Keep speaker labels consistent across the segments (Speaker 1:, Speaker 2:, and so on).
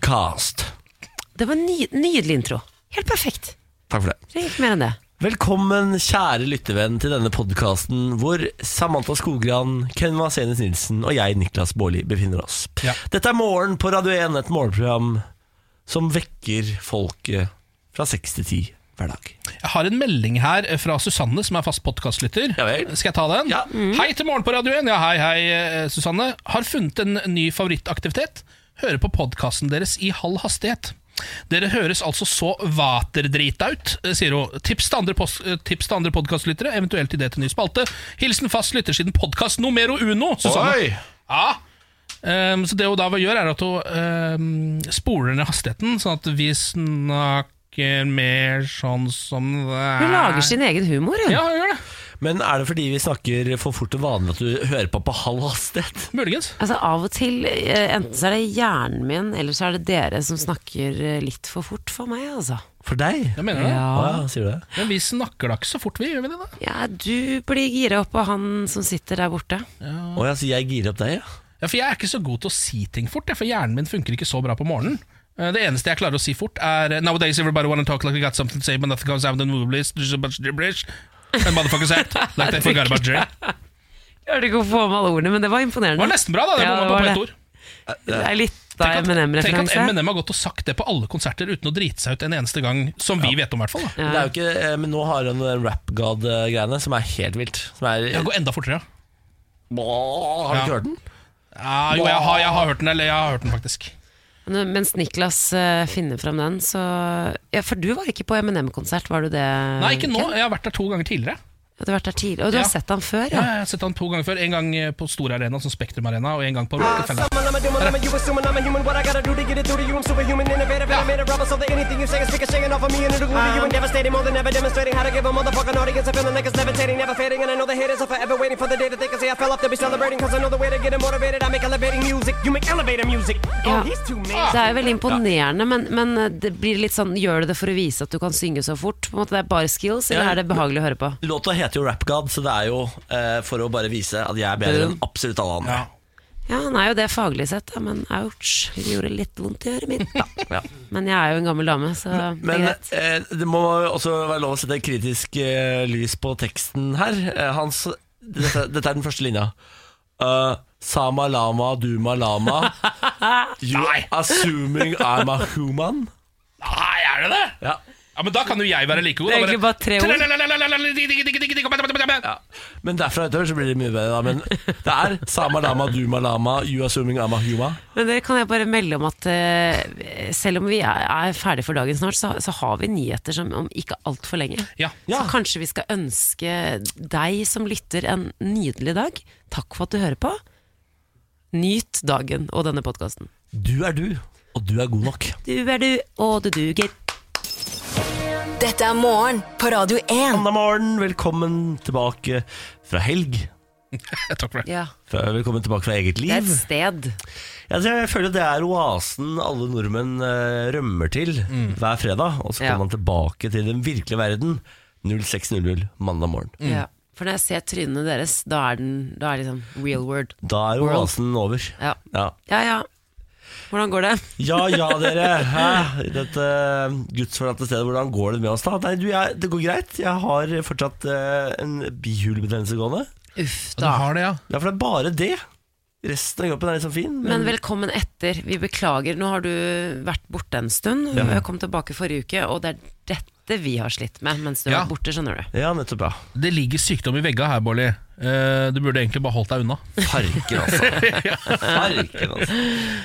Speaker 1: podcast.
Speaker 2: Det var en ny, nydelig intro. Helt perfekt.
Speaker 1: Takk for det.
Speaker 2: Trenger ikke mer enn det.
Speaker 1: Velkommen, kjære lyttevenn, til denne podkasten hvor Samantha Skogran, Ken Vasenes Nilsen og jeg, Niklas Baarli, befinner oss.
Speaker 3: Ja.
Speaker 1: Dette er Morgen på Radio 1, et morgenprogram som vekker folket fra seks til ti hver dag.
Speaker 3: Jeg har en melding her fra Susanne, som er fast podkastlytter.
Speaker 1: Ja vel.
Speaker 3: Skal jeg ta den?
Speaker 1: Ja.
Speaker 2: Mm.
Speaker 3: Hei til Morgen på Radio 1. Ja, hei, hei, eh, Susanne. Har funnet en ny favorittaktivitet. Hører på podkasten deres i halv hastighet. Dere høres altså så vaterdrita ut, eh, sier hun. Tips til andre, pos- eh, tips til andre podkastlyttere, eventuelt idé til ny spalte. Hilsen fast lytter siden podkast Numero Uno, Susanne.
Speaker 1: Oi!
Speaker 3: Ja. Ehm, så det hun da gjør, er at hun ehm, spoler ned hastigheten, sånn at vi snakker mer sånn som det er.
Speaker 2: Hun lager sin egen humor, hun.
Speaker 3: Ja, hun gjør det.
Speaker 1: Men er det fordi vi snakker for fort og vanlig at du hører på på halv hastighet?
Speaker 3: Muligens.
Speaker 2: Altså Av og til, eh, enten så er det hjernen min, eller så er det dere som snakker eh, litt for fort for meg, altså.
Speaker 1: For deg?
Speaker 3: Jeg mener det.
Speaker 1: Å
Speaker 2: Ja,
Speaker 1: ja, sier du det?
Speaker 3: Men vi snakker da ikke så fort, vi. Gjør vi det, da?
Speaker 2: ja du blir gira opp av han som sitter der borte.
Speaker 1: Å ja, så jeg girer opp deg, ja.
Speaker 3: Ja, For jeg er ikke så god til å si ting fort, jeg, for hjernen min funker ikke så bra på morgenen. Eh, Det eneste jeg klarer å si fort, er eh, Nowadays everybody wanna talk like we got something to say, but nothing comes out of the movies. There's a bunch of gibberish. And motherfuckers out. Like they forgot about Jerry.
Speaker 2: Klarte ikke å få med alle ordene, men det var
Speaker 3: Det
Speaker 2: imponerende.
Speaker 3: var nesten bra, da. Det
Speaker 2: Ja,
Speaker 3: bomma
Speaker 2: det
Speaker 3: på
Speaker 2: var
Speaker 3: på ett
Speaker 2: det.
Speaker 3: ord.
Speaker 2: Det er litt av
Speaker 3: Tenk at- Tenk at
Speaker 2: M&M-referanse.
Speaker 3: M&M har gått og sagt det på alle konserter uten å drite seg ut en eneste gang, som vi vet om, i hvert fall. da.
Speaker 1: Men, det er jo ikke, eh, men nå har han den rap god-greiene som er helt vilt. Som er,
Speaker 3: Jeg går enda fortere. ja.
Speaker 1: Bå, har du ikke
Speaker 3: Ja.
Speaker 1: hørt den?
Speaker 3: Ja, jo, jeg har, jeg har hørt den, eller jeg har hørt den faktisk.
Speaker 2: Men- Mens Niklas eh, finner fram den, så Ja, for du var ikke på M&M-konsert, var du det?
Speaker 3: Nei, ikke nå. Jeg har vært der to ganger tidligere.
Speaker 2: Du har vært der tidligere, og du
Speaker 3: Ja.
Speaker 2: har sett han før,
Speaker 3: Ja,
Speaker 2: ja?
Speaker 3: Jeg har sett han to ganger før. En gang eh, på Stor Arena, som Spektrum Arena, og en gang på Rockefeller.
Speaker 4: Someone I'm a doing, I'm a you assuming I'm a human. What I gotta do to get it through to you? I'm superhuman, innovative, and I made a rubber so that anything you say is stick a shaking off of me and it'll glue to you and devastating more than ever demonstrating how to give a motherfucking audience a feeling like it's levitating, never fading. And I know the haters are forever waiting for the day that they can say I fell off. They'll be celebrating because I know the way to get 'em motivated. I make elevating music, you make elevator music. Oh,
Speaker 2: Ja.
Speaker 4: he's too mean.
Speaker 2: Det er jo veldig imponerende, men, men det blir litt sånn, gjør du det for å vise at du kan synge så fort? På en måte Det er bare skills, eller
Speaker 1: Ja.
Speaker 2: er det behagelig å høre på?
Speaker 1: Låta heter jo Rap God, så det er jo eh, for å bare vise at jeg er bedre enn absolutt alle andre.
Speaker 3: Ja.
Speaker 2: Ja, han er jo det faglig sett, da, men ouch. Det gjorde litt vondt i øret mitt, da.
Speaker 1: Ja.
Speaker 2: Men jeg er jo en gammel dame, så det er
Speaker 1: Men
Speaker 2: greit.
Speaker 1: eh, det må også være lov å sette kritisk eh, lys på teksten her. Eh, hans, dette, dette er den første linja. Eh, Sama lama, duma lama. You
Speaker 3: Nei.
Speaker 1: assuming I'm a human.
Speaker 3: Nei, er det det?
Speaker 1: Ja.
Speaker 3: Ja, men Da kan jo jeg være like god.
Speaker 2: Det er egentlig bare tre ord.
Speaker 3: ord.
Speaker 1: Men derfra utover så blir det mye bedre, da. Men det er sama lama, duma lama, you assuming I'm a human.
Speaker 2: Men det kan jeg bare melde om at eh, selv om vi er, er ferdig for dagen snart, så, så har vi nyheter som om ikke altfor lenge.
Speaker 3: Ja.
Speaker 1: Ja.
Speaker 2: Så kanskje vi skal ønske deg som lytter en nydelig dag. Takk for at du hører på. Nyt dagen og denne podkasten.
Speaker 1: Du er du, og du er god nok.
Speaker 2: Du er du, og du duger.
Speaker 5: Dette er morgen på Radio 1.
Speaker 1: Mandag morgen, velkommen tilbake fra helg.
Speaker 3: Takk for det.
Speaker 2: Ja,
Speaker 1: Fra, velkommen tilbake fra eget
Speaker 2: det er
Speaker 1: liv.
Speaker 2: et sted.
Speaker 1: Jeg, jeg føler det er oasen alle nordmenn eh, rømmer til hver fredag. Og så
Speaker 2: Mm. Ja.
Speaker 1: kommer man tilbake til den virkelige verden 06.00 mandag morgen.
Speaker 3: Mm.
Speaker 2: Ja. For når jeg ser trynene deres, da er den da er liksom real word.
Speaker 1: Da er
Speaker 2: World.
Speaker 1: oasen over.
Speaker 2: Ja.
Speaker 1: Ja.
Speaker 2: ja ja, hvordan går det?
Speaker 1: Ja ja, dere. Hæ? I Dette eh, gudsforlatte stedet, hvordan går det med oss da? Nei, du, jeg, det går greit. Jeg har fortsatt eh, en bihulebetennelse gående.
Speaker 2: Uff
Speaker 3: Du
Speaker 2: da.
Speaker 3: har det, ja.
Speaker 1: Ja, for det er bare det. Resten av kroppen er liksom fin.
Speaker 2: Men velkommen etter. Vi beklager, nå har du vært borte en stund. Jeg kom tilbake forrige uke, og det er dette vi har slitt med mens du
Speaker 3: Ja.
Speaker 2: har vært borte, skjønner du.
Speaker 1: Ja, nettopp, ja.
Speaker 3: Det ligger sykdom i vegga her, Bolli. Eh, Du burde egentlig bare holdt deg unna.
Speaker 1: Farken, altså. Farken, altså.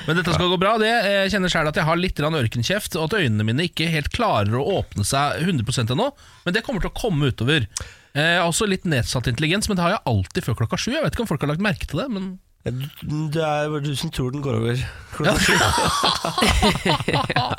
Speaker 3: Men dette skal gå bra. Det jeg kjenner selv at jeg har litt grann ørkenkjeft, og at øynene mine ikke helt klarer å åpne seg 100 ennå. Men det kommer til å komme utover. Jeg har også litt nedsatt intelligens, men det har jeg alltid før klokka sju. Jeg vet ikke om folk har lagt merke til det, men
Speaker 1: Det er jo du som tror den går over.
Speaker 3: Ah.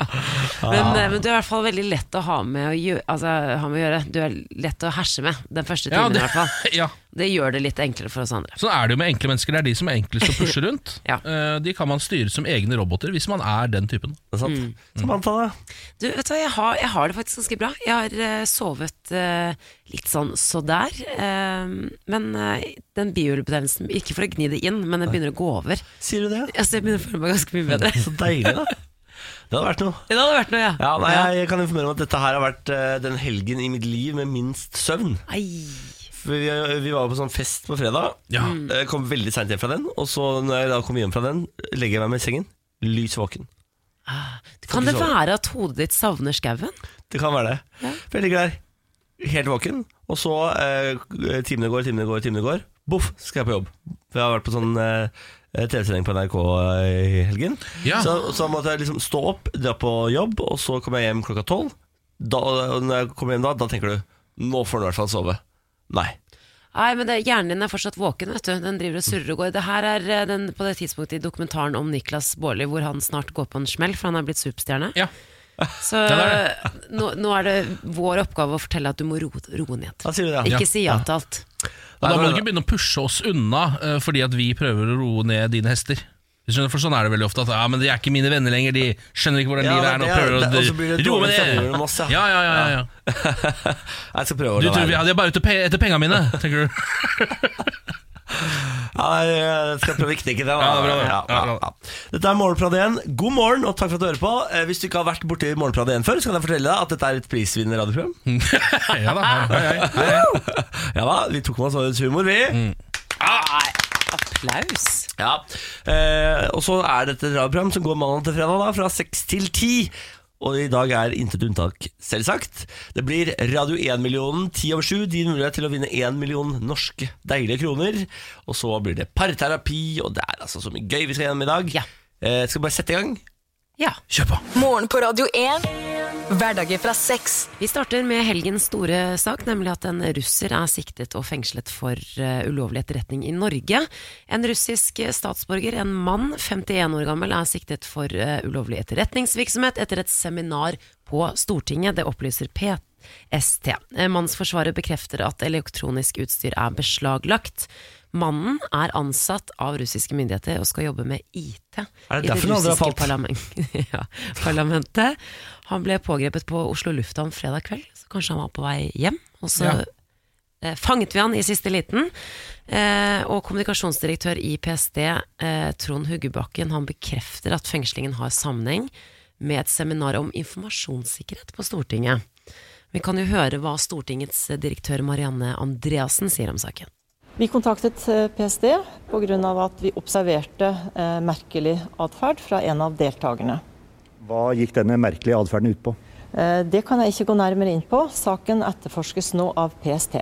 Speaker 2: Men, eh, men du er i hvert fall veldig lett å ha med å, gjø altså, ha med å gjøre. Du er lett å herse med den første timen,
Speaker 3: det,
Speaker 2: i hvert fall.
Speaker 3: ja.
Speaker 2: Det gjør det litt enklere for oss andre.
Speaker 3: Sånn er det jo med enkle mennesker. Det er de som er enklest å pushe rundt.
Speaker 2: Ja.
Speaker 3: Eh, De kan man styre som egne roboter, hvis man er den typen.
Speaker 1: Det er sant. Samantha, da?
Speaker 2: Du, vet du hva, jeg har, jeg har det faktisk ganske bra. Jeg har eh, sovet eh, litt sånn så der. eh, men eh, den bihulebetennelsen Ikke for å gni det inn, men den begynner å gå over.
Speaker 1: Sier du det?
Speaker 2: Altså, jeg begynner å føle meg ganske mye bedre.
Speaker 1: Så deilig, da. Det hadde vært noe.
Speaker 2: Det hadde vært noe, ja.
Speaker 1: Ja, nei, jeg kan informere om at dette her har vært eh, den helgen i mitt liv med minst søvn.
Speaker 2: Ei.
Speaker 1: For Vi, vi var på sånn fest på fredag.
Speaker 3: Ja.
Speaker 1: Jeg kom veldig seint hjem fra den. Og så når jeg da kom hjem fra den, legger jeg meg med i sengen. Lys våken.
Speaker 2: Ah. Kan
Speaker 1: ikke
Speaker 2: det
Speaker 1: sove.
Speaker 2: være at hodet ditt savner skauen?
Speaker 1: Det kan være det. For jeg ligger der helt våken, og så eh, timene går, timene går, timene går. Boff, skal jeg på jobb. For jeg har vært på sånn eh, TV-sending på NRK eh, i helgen.
Speaker 3: Ja.
Speaker 1: Så, så måtte jeg liksom stå opp, dra på jobb, og så kommer jeg hjem klokka tolv. Da, og når jeg kommer hjem da, da tenker du nå får du i hvert fall sove. Nei.
Speaker 2: Nei, men det, Hjernen din er fortsatt våken. vet du Den driver og surrer og går. Det her er eh, den, på det tidspunktet i dokumentaren om Niklas Baarli hvor han snart går på en smell, for han er blitt superstjerne.
Speaker 3: Ja.
Speaker 2: Så eh,
Speaker 3: det
Speaker 2: Nå, nå er det vår oppgave å fortelle at du må roe roe ned.
Speaker 1: Da sier du det.
Speaker 2: Ikke si ja til alt.
Speaker 3: Og da
Speaker 1: Nei,
Speaker 3: må
Speaker 1: men-
Speaker 3: du ikke begynne å pushe oss unna eh, fordi at vi prøver å roe ned dine hester. Du skjønner, For sånn er det veldig ofte. At ja, men De er ikke mine venner lenger. De skjønner ikke hvordan
Speaker 1: Ja,
Speaker 3: livet er nå.
Speaker 1: det er-
Speaker 3: Prøver
Speaker 1: det- og så blir
Speaker 3: å
Speaker 1: det
Speaker 3: roe
Speaker 1: dårlig
Speaker 3: med
Speaker 1: stemning
Speaker 3: det.
Speaker 1: mellom oss,
Speaker 3: Ja,
Speaker 1: ja.
Speaker 3: ja, ja, ja, ja.
Speaker 1: Jeg skal prøve å
Speaker 3: Du
Speaker 1: la
Speaker 3: tror
Speaker 1: være.
Speaker 3: vi, ja, de er bare ute pe etter penga mine, tenker du.
Speaker 1: Ja, jeg skal prøve å knekke det. da.
Speaker 3: Ja, det er bra, det.
Speaker 1: Ja, ja,
Speaker 3: Ja, bra.
Speaker 1: ja. Dette er Morgenprat 1. God morgen, og takk for at du hører på. Eh, Hvis du ikke har vært borti Morgenprat 1 før, så kan jeg fortelle deg at dette er et prisvinnende radioprogram.
Speaker 3: ja da, ja, ja, ja.
Speaker 1: Ja da, vi tok med oss årets humor, vi.
Speaker 2: Nei, applaus.
Speaker 1: Ja. Eh, og så er dette et radioprogram som går mandag til fredag, da, fra seks til ti. Og i dag er intet unntak, selvsagt. Det blir Radio 1-millionen ti over sju. Din mulighet til å vinne én million norske deilige kroner. Og så blir det parterapi, og det er altså så mye gøy vi skal gjennom i dag.
Speaker 2: Ja.
Speaker 1: Eh, skal vi bare sette i gang?
Speaker 2: Ja.
Speaker 3: Kjør på.
Speaker 5: Morgen på Radio 1. Hverdager fra seks.
Speaker 2: Vi starter med helgens store sak, nemlig at en russer er siktet og fengslet for eh, ulovlig etterretning i Norge. En russisk statsborger, en mann, 51 år gammel, er siktet for eh, ulovlig etterretningsvirksomhet etter et seminar på Stortinget. Det opplyser PST. Eh, Mannsforsvaret bekrefter at elektronisk utstyr er beslaglagt. Mannen er ansatt av russiske myndigheter og skal jobbe med IT
Speaker 1: Er det
Speaker 2: i det
Speaker 1: derfor den andre har
Speaker 2: russiske
Speaker 1: falt?
Speaker 2: parlament ja, parlamentet. Han ble pågrepet på Oslo lufthavn fredag kveld, så kanskje han var på vei hjem. Og så
Speaker 3: Ja.
Speaker 2: eh, fanget vi han i siste liten. Eh, og kommunikasjonsdirektør i PST, eh, Trond Huggebakken, han bekrefter at fengslingen har sammenheng med et seminar om informasjonssikkerhet på Stortinget. Vi kan jo høre hva Stortingets direktør Marianne Andreassen sier om saken.
Speaker 6: Vi kontaktet eh, PST pga. at vi observerte eh, merkelig atferd fra en av deltakerne.
Speaker 7: Hva gikk denne merkelige atferden ut på?
Speaker 6: Eh, Det kan jeg ikke gå nærmere inn på. Saken etterforskes nå av PST.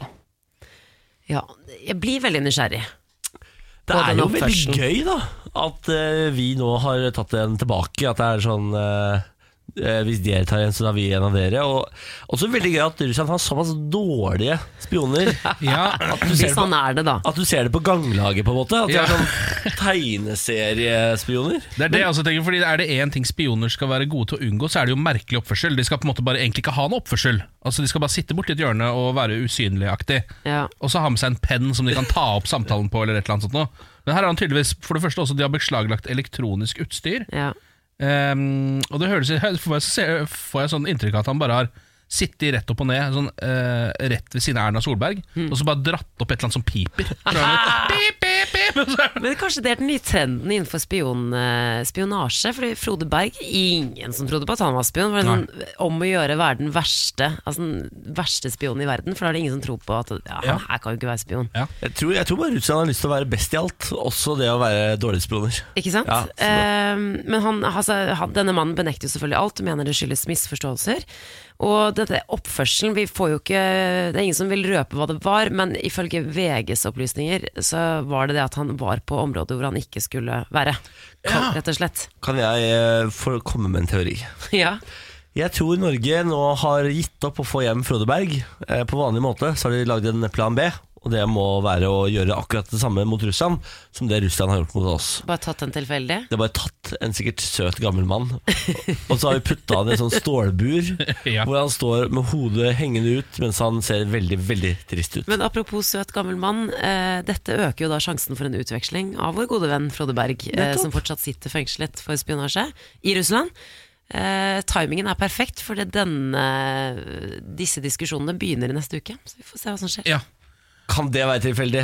Speaker 2: Ja, jeg blir veldig nysgjerrig.
Speaker 1: Det
Speaker 2: på
Speaker 1: er
Speaker 2: den
Speaker 1: jo veldig
Speaker 2: oppførselen.
Speaker 1: gøy da At eh, vi nå har tatt den tilbake At det er sånn eh, eh, Hvis dere tar en, så tar vi en av dere Og også veldig gøy at Russland har såpass dårlige spioner
Speaker 3: Ja.
Speaker 1: At du ser
Speaker 2: Hvis
Speaker 1: det på,
Speaker 2: han er det, da.
Speaker 1: at du ser det på ganglaget på en måte At de
Speaker 3: Ja.
Speaker 1: er sånn tegneseriespioner
Speaker 3: Det er det jeg også tenker, fordi er det én ting spioner skal være gode til å unngå, så er det jo merkelig oppførsel. De skal på en måte bare egentlig ikke ha noe oppførsel. Altså De skal bare sitte borti et hjørne og være usynligaktig.
Speaker 2: Ja.
Speaker 3: Og så ha med seg en penn som de kan ta opp samtalen på, eller et eller annet sånt noe. Men her har han tydeligvis for det første også de har beslaglagt elektronisk utstyr.
Speaker 2: Ja.
Speaker 3: Ehm, og det høres her får jeg, se- får jeg sånn inntrykk av at han bare har sittet rett opp og ned, sånn, eh, rett ved siden av Erna Solberg, og så bare dratt opp et eller annet som piper. pip, pip, pip, og så er det
Speaker 2: Men kanskje det er den nye trenden innenfor spion, eh, spionasje. Fordi Frode Berg, ingen som trodde på at han var spion. For det er sånn, om å gjøre å være den verste, altså den verste spionen i verden. For da er det ingen som tror på at ja,
Speaker 3: Ja.
Speaker 2: han her kan jo ikke være spion.
Speaker 3: Ja.
Speaker 1: jeg tror, jeg tror bare Russland har lyst til å være best i alt Også det å være dårlige spioner
Speaker 2: Ikke sant?
Speaker 1: Ja, så bra.
Speaker 2: Eh, men han, altså, han, denne mannen benekter jo selvfølgelig alt og mener det skyldes misforståelser. Og dette oppførselen vi får jo ikke, Det er ingen som vil røpe hva det var, men ifølge VGs opplysninger så var det det at han var på områder hvor han ikke skulle være. Rett og slett.
Speaker 1: Kan jeg eh, få komme med en teori?
Speaker 2: Ja.
Speaker 1: Jeg tror Norge nå har gitt opp å få hjem Frode Berg. Eh, På vanlig måte så har de lagd en plan B, og det må være å gjøre akkurat det samme mot Russland som det Russland har gjort mot oss.
Speaker 2: Bare tatt en tilfeldig?
Speaker 1: Det er bare tatt en sikkert søt gammel mann, og så har vi putta han i en sånn stålbur,
Speaker 3: Ja.
Speaker 1: hvor han står med hodet hengende ut mens han ser veldig, veldig trist ut.
Speaker 2: Men apropos søt gammel mann, eh, dette øker jo da sjansen for en utveksling av vår gode venn Frode Berg, eh,
Speaker 1: Nettopp.
Speaker 2: som fortsatt sitter fengslet for spionasje i Russland. Eh, timingen er perfekt, for denne, disse diskusjonene begynner i neste uke. Så vi får se hva som skjer.
Speaker 3: Ja.
Speaker 1: Kan det være tilfeldig?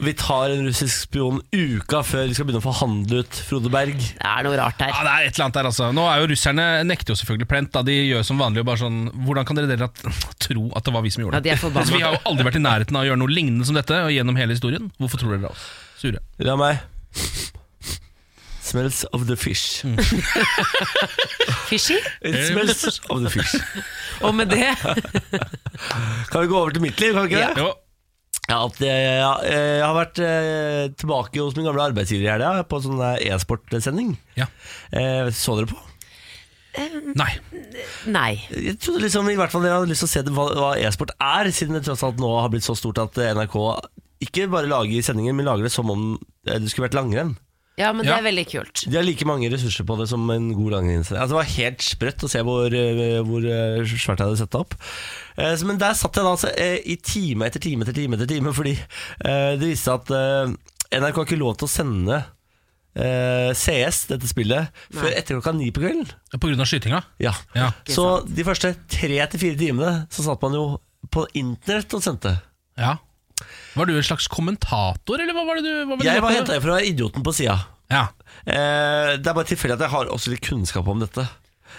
Speaker 1: Vi tar en russisk spion uka før vi skal begynne å forhandle ut Frode Berg.
Speaker 2: Det er noe rart her.
Speaker 3: Ja, det er et eller annet der, altså. Nå er jo Russerne nekter jo selvfølgelig plent. da De gjør som vanlig og bare sånn Hvordan kan dere dere at, tro at det var vi som gjorde
Speaker 2: Ja, de
Speaker 3: det?
Speaker 2: er forbanna.
Speaker 3: Altså, vi har jo aldri vært i nærheten av å gjøre noe lignende som dette og gjennom hele historien. Hvorfor tror dere det? altså? Sure.
Speaker 1: La meg Smells of the fish.
Speaker 2: Fishy.
Speaker 1: It smells of the fish.
Speaker 2: Og med det
Speaker 1: Kan vi gå over til mitt liv? kan vi ikke det?
Speaker 3: Jo,
Speaker 1: Ja, at jeg, jeg, jeg har vært eh, tilbake hos min gamle arbeidsgiver i helga, på sånn der e-sportsending.
Speaker 3: ja.
Speaker 1: Eh, så dere på?
Speaker 3: Nei.
Speaker 2: Nei.
Speaker 1: Jeg trodde liksom i hvert fall dere hadde lyst til å se det, hva, hva e-sport er, siden det tross alt nå har blitt så stort at eh, NRK ikke bare lager sendinger, men lager det som om eh, det skulle vært langrenn.
Speaker 2: Ja, men det
Speaker 3: Ja.
Speaker 2: er veldig kult.
Speaker 1: De har like mange ressurser på det som en god langrennssending. Altså, det var helt sprøtt å se hvor, eh, hvor eh, svært jeg hadde sett det opp. Eh, så- Men der satt jeg da altså, eh, i time etter time etter time, etter time fordi eh, det viste seg at eh, NRK har ikke lov til å sende eh, CS, dette spillet, før etter klokka ni på kvelden.
Speaker 3: På grunn av skytinga?
Speaker 1: Ja.
Speaker 3: Ja.
Speaker 1: Så de første tre til fire timene så satt man jo på internett og sendte.
Speaker 3: ja. Var du en slags kommentator, eller hva var det du hva var det
Speaker 1: Jeg
Speaker 3: du
Speaker 1: var
Speaker 3: het?
Speaker 1: henta fra idioten på sida.
Speaker 3: Ja.
Speaker 1: Eh, det er bare tilfeldig at jeg har også litt kunnskap om dette.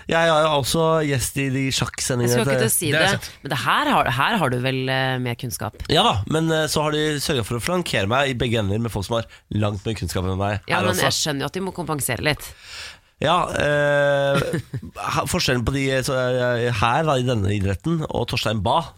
Speaker 1: Jeg er jo også gjest i de
Speaker 2: Jeg
Speaker 1: sjakksendingene.
Speaker 2: skulle
Speaker 1: til-
Speaker 2: ikke til å si det,
Speaker 3: Det har jeg sett.
Speaker 2: men det her, har, her har du vel eh, mer kunnskap.
Speaker 1: Ja da, men eh, så har de sørga for å flankere meg i begge ender med folk som har langt mer kunnskap enn meg.
Speaker 2: Ja,
Speaker 1: her
Speaker 2: men jeg
Speaker 1: også.
Speaker 2: skjønner jo at de må kompensere litt.
Speaker 1: Ja, eh, ha- Forskjellen på de så, eh, her da, i denne idretten og Torstein Bae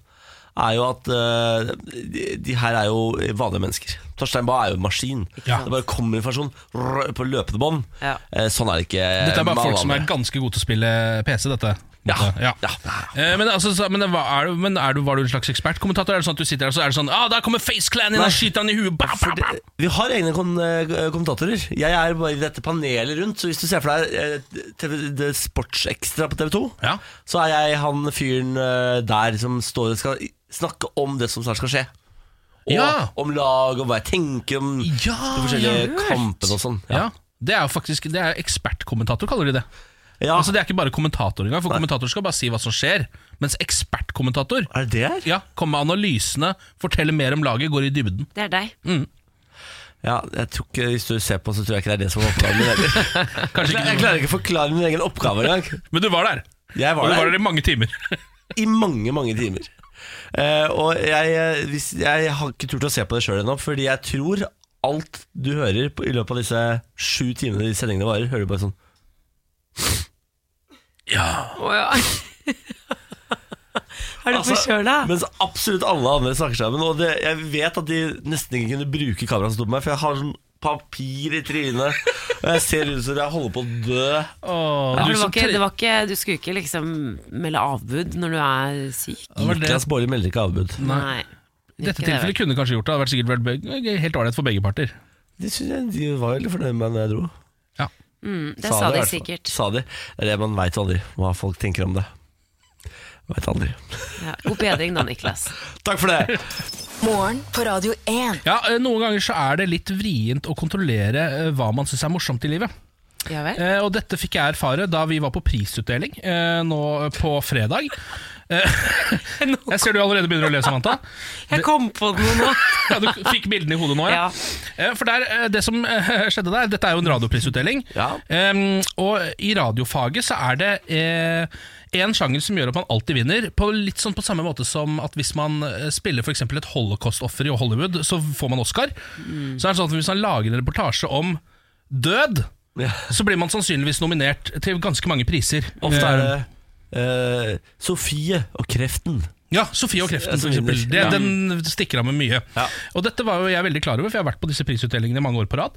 Speaker 1: er jo at eh, de, de her er jo vanlige mennesker. Torstein Bae er jo en maskin.
Speaker 3: Ja.
Speaker 1: Det bare kommer informasjon rrr, på løpende bånd.
Speaker 2: Ja.
Speaker 1: Eh, sånn er det ikke.
Speaker 3: Dette er
Speaker 1: med
Speaker 3: bare folk
Speaker 1: alle
Speaker 3: som er
Speaker 1: andre.
Speaker 3: ganske gode til å spille PC, dette.
Speaker 1: Ja.
Speaker 3: ja.
Speaker 1: Ja.
Speaker 3: Eh, Men, altså, så, men, det var, er du, men er du, var du en slags ekspertkommentator? Er det sånn at du sitter der og så er det sånn ah, 'Der kommer Face Clan inn,
Speaker 1: Nei.
Speaker 3: og skyter han i huet!' Bam, bam, bam.
Speaker 1: Fordi- Vi har egne kon- eh, kommentatorer. Jeg er bare i dette panelet rundt. Så hvis du ser for deg eh, TV, det Sportsekstra på TV 2,
Speaker 3: Ja.
Speaker 1: så er jeg han fyren eh, der som står og skal snakke om det som snart skal skje. Og
Speaker 3: Ja.
Speaker 1: om lag og hva jeg tenker om
Speaker 3: Ja,
Speaker 1: de forskjellige
Speaker 3: lurt.
Speaker 1: kampene og sånn.
Speaker 3: Ja. Det er jo faktisk Det er ekspertkommentator, kaller de det.
Speaker 1: Ja.
Speaker 3: Altså Det er ikke bare kommentator engang, for kommentator skal bare si hva som skjer. Mens ekspertkommentator
Speaker 1: er det det her?
Speaker 3: ja, kommer med analysene, forteller mer om laget, går i dybden.
Speaker 2: Det er deg.
Speaker 1: Ja, jeg tror ikke, hvis du ser på, så tror jeg ikke det er det som er oppgaven min heller.
Speaker 3: Kanskje
Speaker 1: Jeg
Speaker 3: ikke
Speaker 1: klarer ikke å forklare min egen oppgave engang.
Speaker 3: Men du var der!
Speaker 1: Jeg
Speaker 3: Og
Speaker 1: var
Speaker 3: du
Speaker 1: der.
Speaker 3: var der i mange timer.
Speaker 1: i mange, mange timer. Eh, og jeg, eh, hvis, jeg har ikke turt å se på det sjøl ennå, fordi jeg tror alt du hører på, i løpet av disse sju timene de sendingene varer, hører du bare sånn
Speaker 2: Å ja. Er du
Speaker 1: Altså,
Speaker 2: forkjøla?
Speaker 1: Mens absolutt alle andre snakker sammen. Og det, jeg vet at de nesten ikke kunne bruke kameraet som sto på meg, for jeg har sånn papir i trynet, og jeg ser ut som jeg holder på å dø.
Speaker 3: Åh,
Speaker 2: Ja, for det
Speaker 3: du som
Speaker 2: var ikke,
Speaker 3: tre-
Speaker 2: det var ikke, du skulle ikke liksom melde avbud når du er syk.
Speaker 3: Det var det.
Speaker 1: Niklas Baarli melder ikke avbud.
Speaker 2: Nei.
Speaker 3: I Dette
Speaker 2: Ikke det,
Speaker 3: tilfellet
Speaker 2: vel.
Speaker 3: kunne kanskje gjort det. Det hadde vært sikkert vært be- helt ålreit for begge parter.
Speaker 1: De, synes jeg, de var veldig fornøyd med meg da jeg dro.
Speaker 2: Mm, Det sa
Speaker 1: i
Speaker 2: de
Speaker 1: hvert fall.
Speaker 2: sikkert.
Speaker 1: Sa de. Det er det man veit aldri, hva folk tenker om det. Veit aldri.
Speaker 2: Ja. God bedring da, Niklas.
Speaker 1: Takk for det!
Speaker 5: Morgen på Radio 1.
Speaker 3: Ja, eh, Noen ganger så er det litt vrient å kontrollere eh, hva man syns er morsomt i livet.
Speaker 2: Ja vel?
Speaker 3: Eh, og dette fikk jeg erfare da vi var på prisutdeling eh, nå på fredag. Eh, jeg ser du allerede begynner å le, Samantha.
Speaker 2: Jeg kom på noe nå.
Speaker 3: Ja, du fikk bildene i hodet nå, ja.
Speaker 2: Ja.
Speaker 3: Eh, For der, eh, det som eh, skjedde der, dette er jo en radioprisutdeling,
Speaker 1: Ja.
Speaker 3: Em, og i radiofaget så er det eh, en sjanger som gjør at man alltid vinner, på litt sånn på samme måte som at hvis man eh, spiller for eksempel et holocaust-offer i Hollywood, så får man Oscar. Så er det sånn at hvis man lager en reportasje om død,
Speaker 1: Ja.
Speaker 3: så blir man sannsynligvis nominert til ganske mange priser.
Speaker 1: Ofte er det
Speaker 3: Eh,
Speaker 1: eh, Sofie og kreften.
Speaker 3: Ja, Sofie og kreften,
Speaker 1: som
Speaker 3: for eksempel.
Speaker 1: vinner.
Speaker 3: Det,
Speaker 1: Ja.
Speaker 3: Den stikker av med mye.
Speaker 1: Ja.
Speaker 3: Og dette var jo jeg veldig klar over, for jeg har vært på disse prisutdelingene i mange år på rad.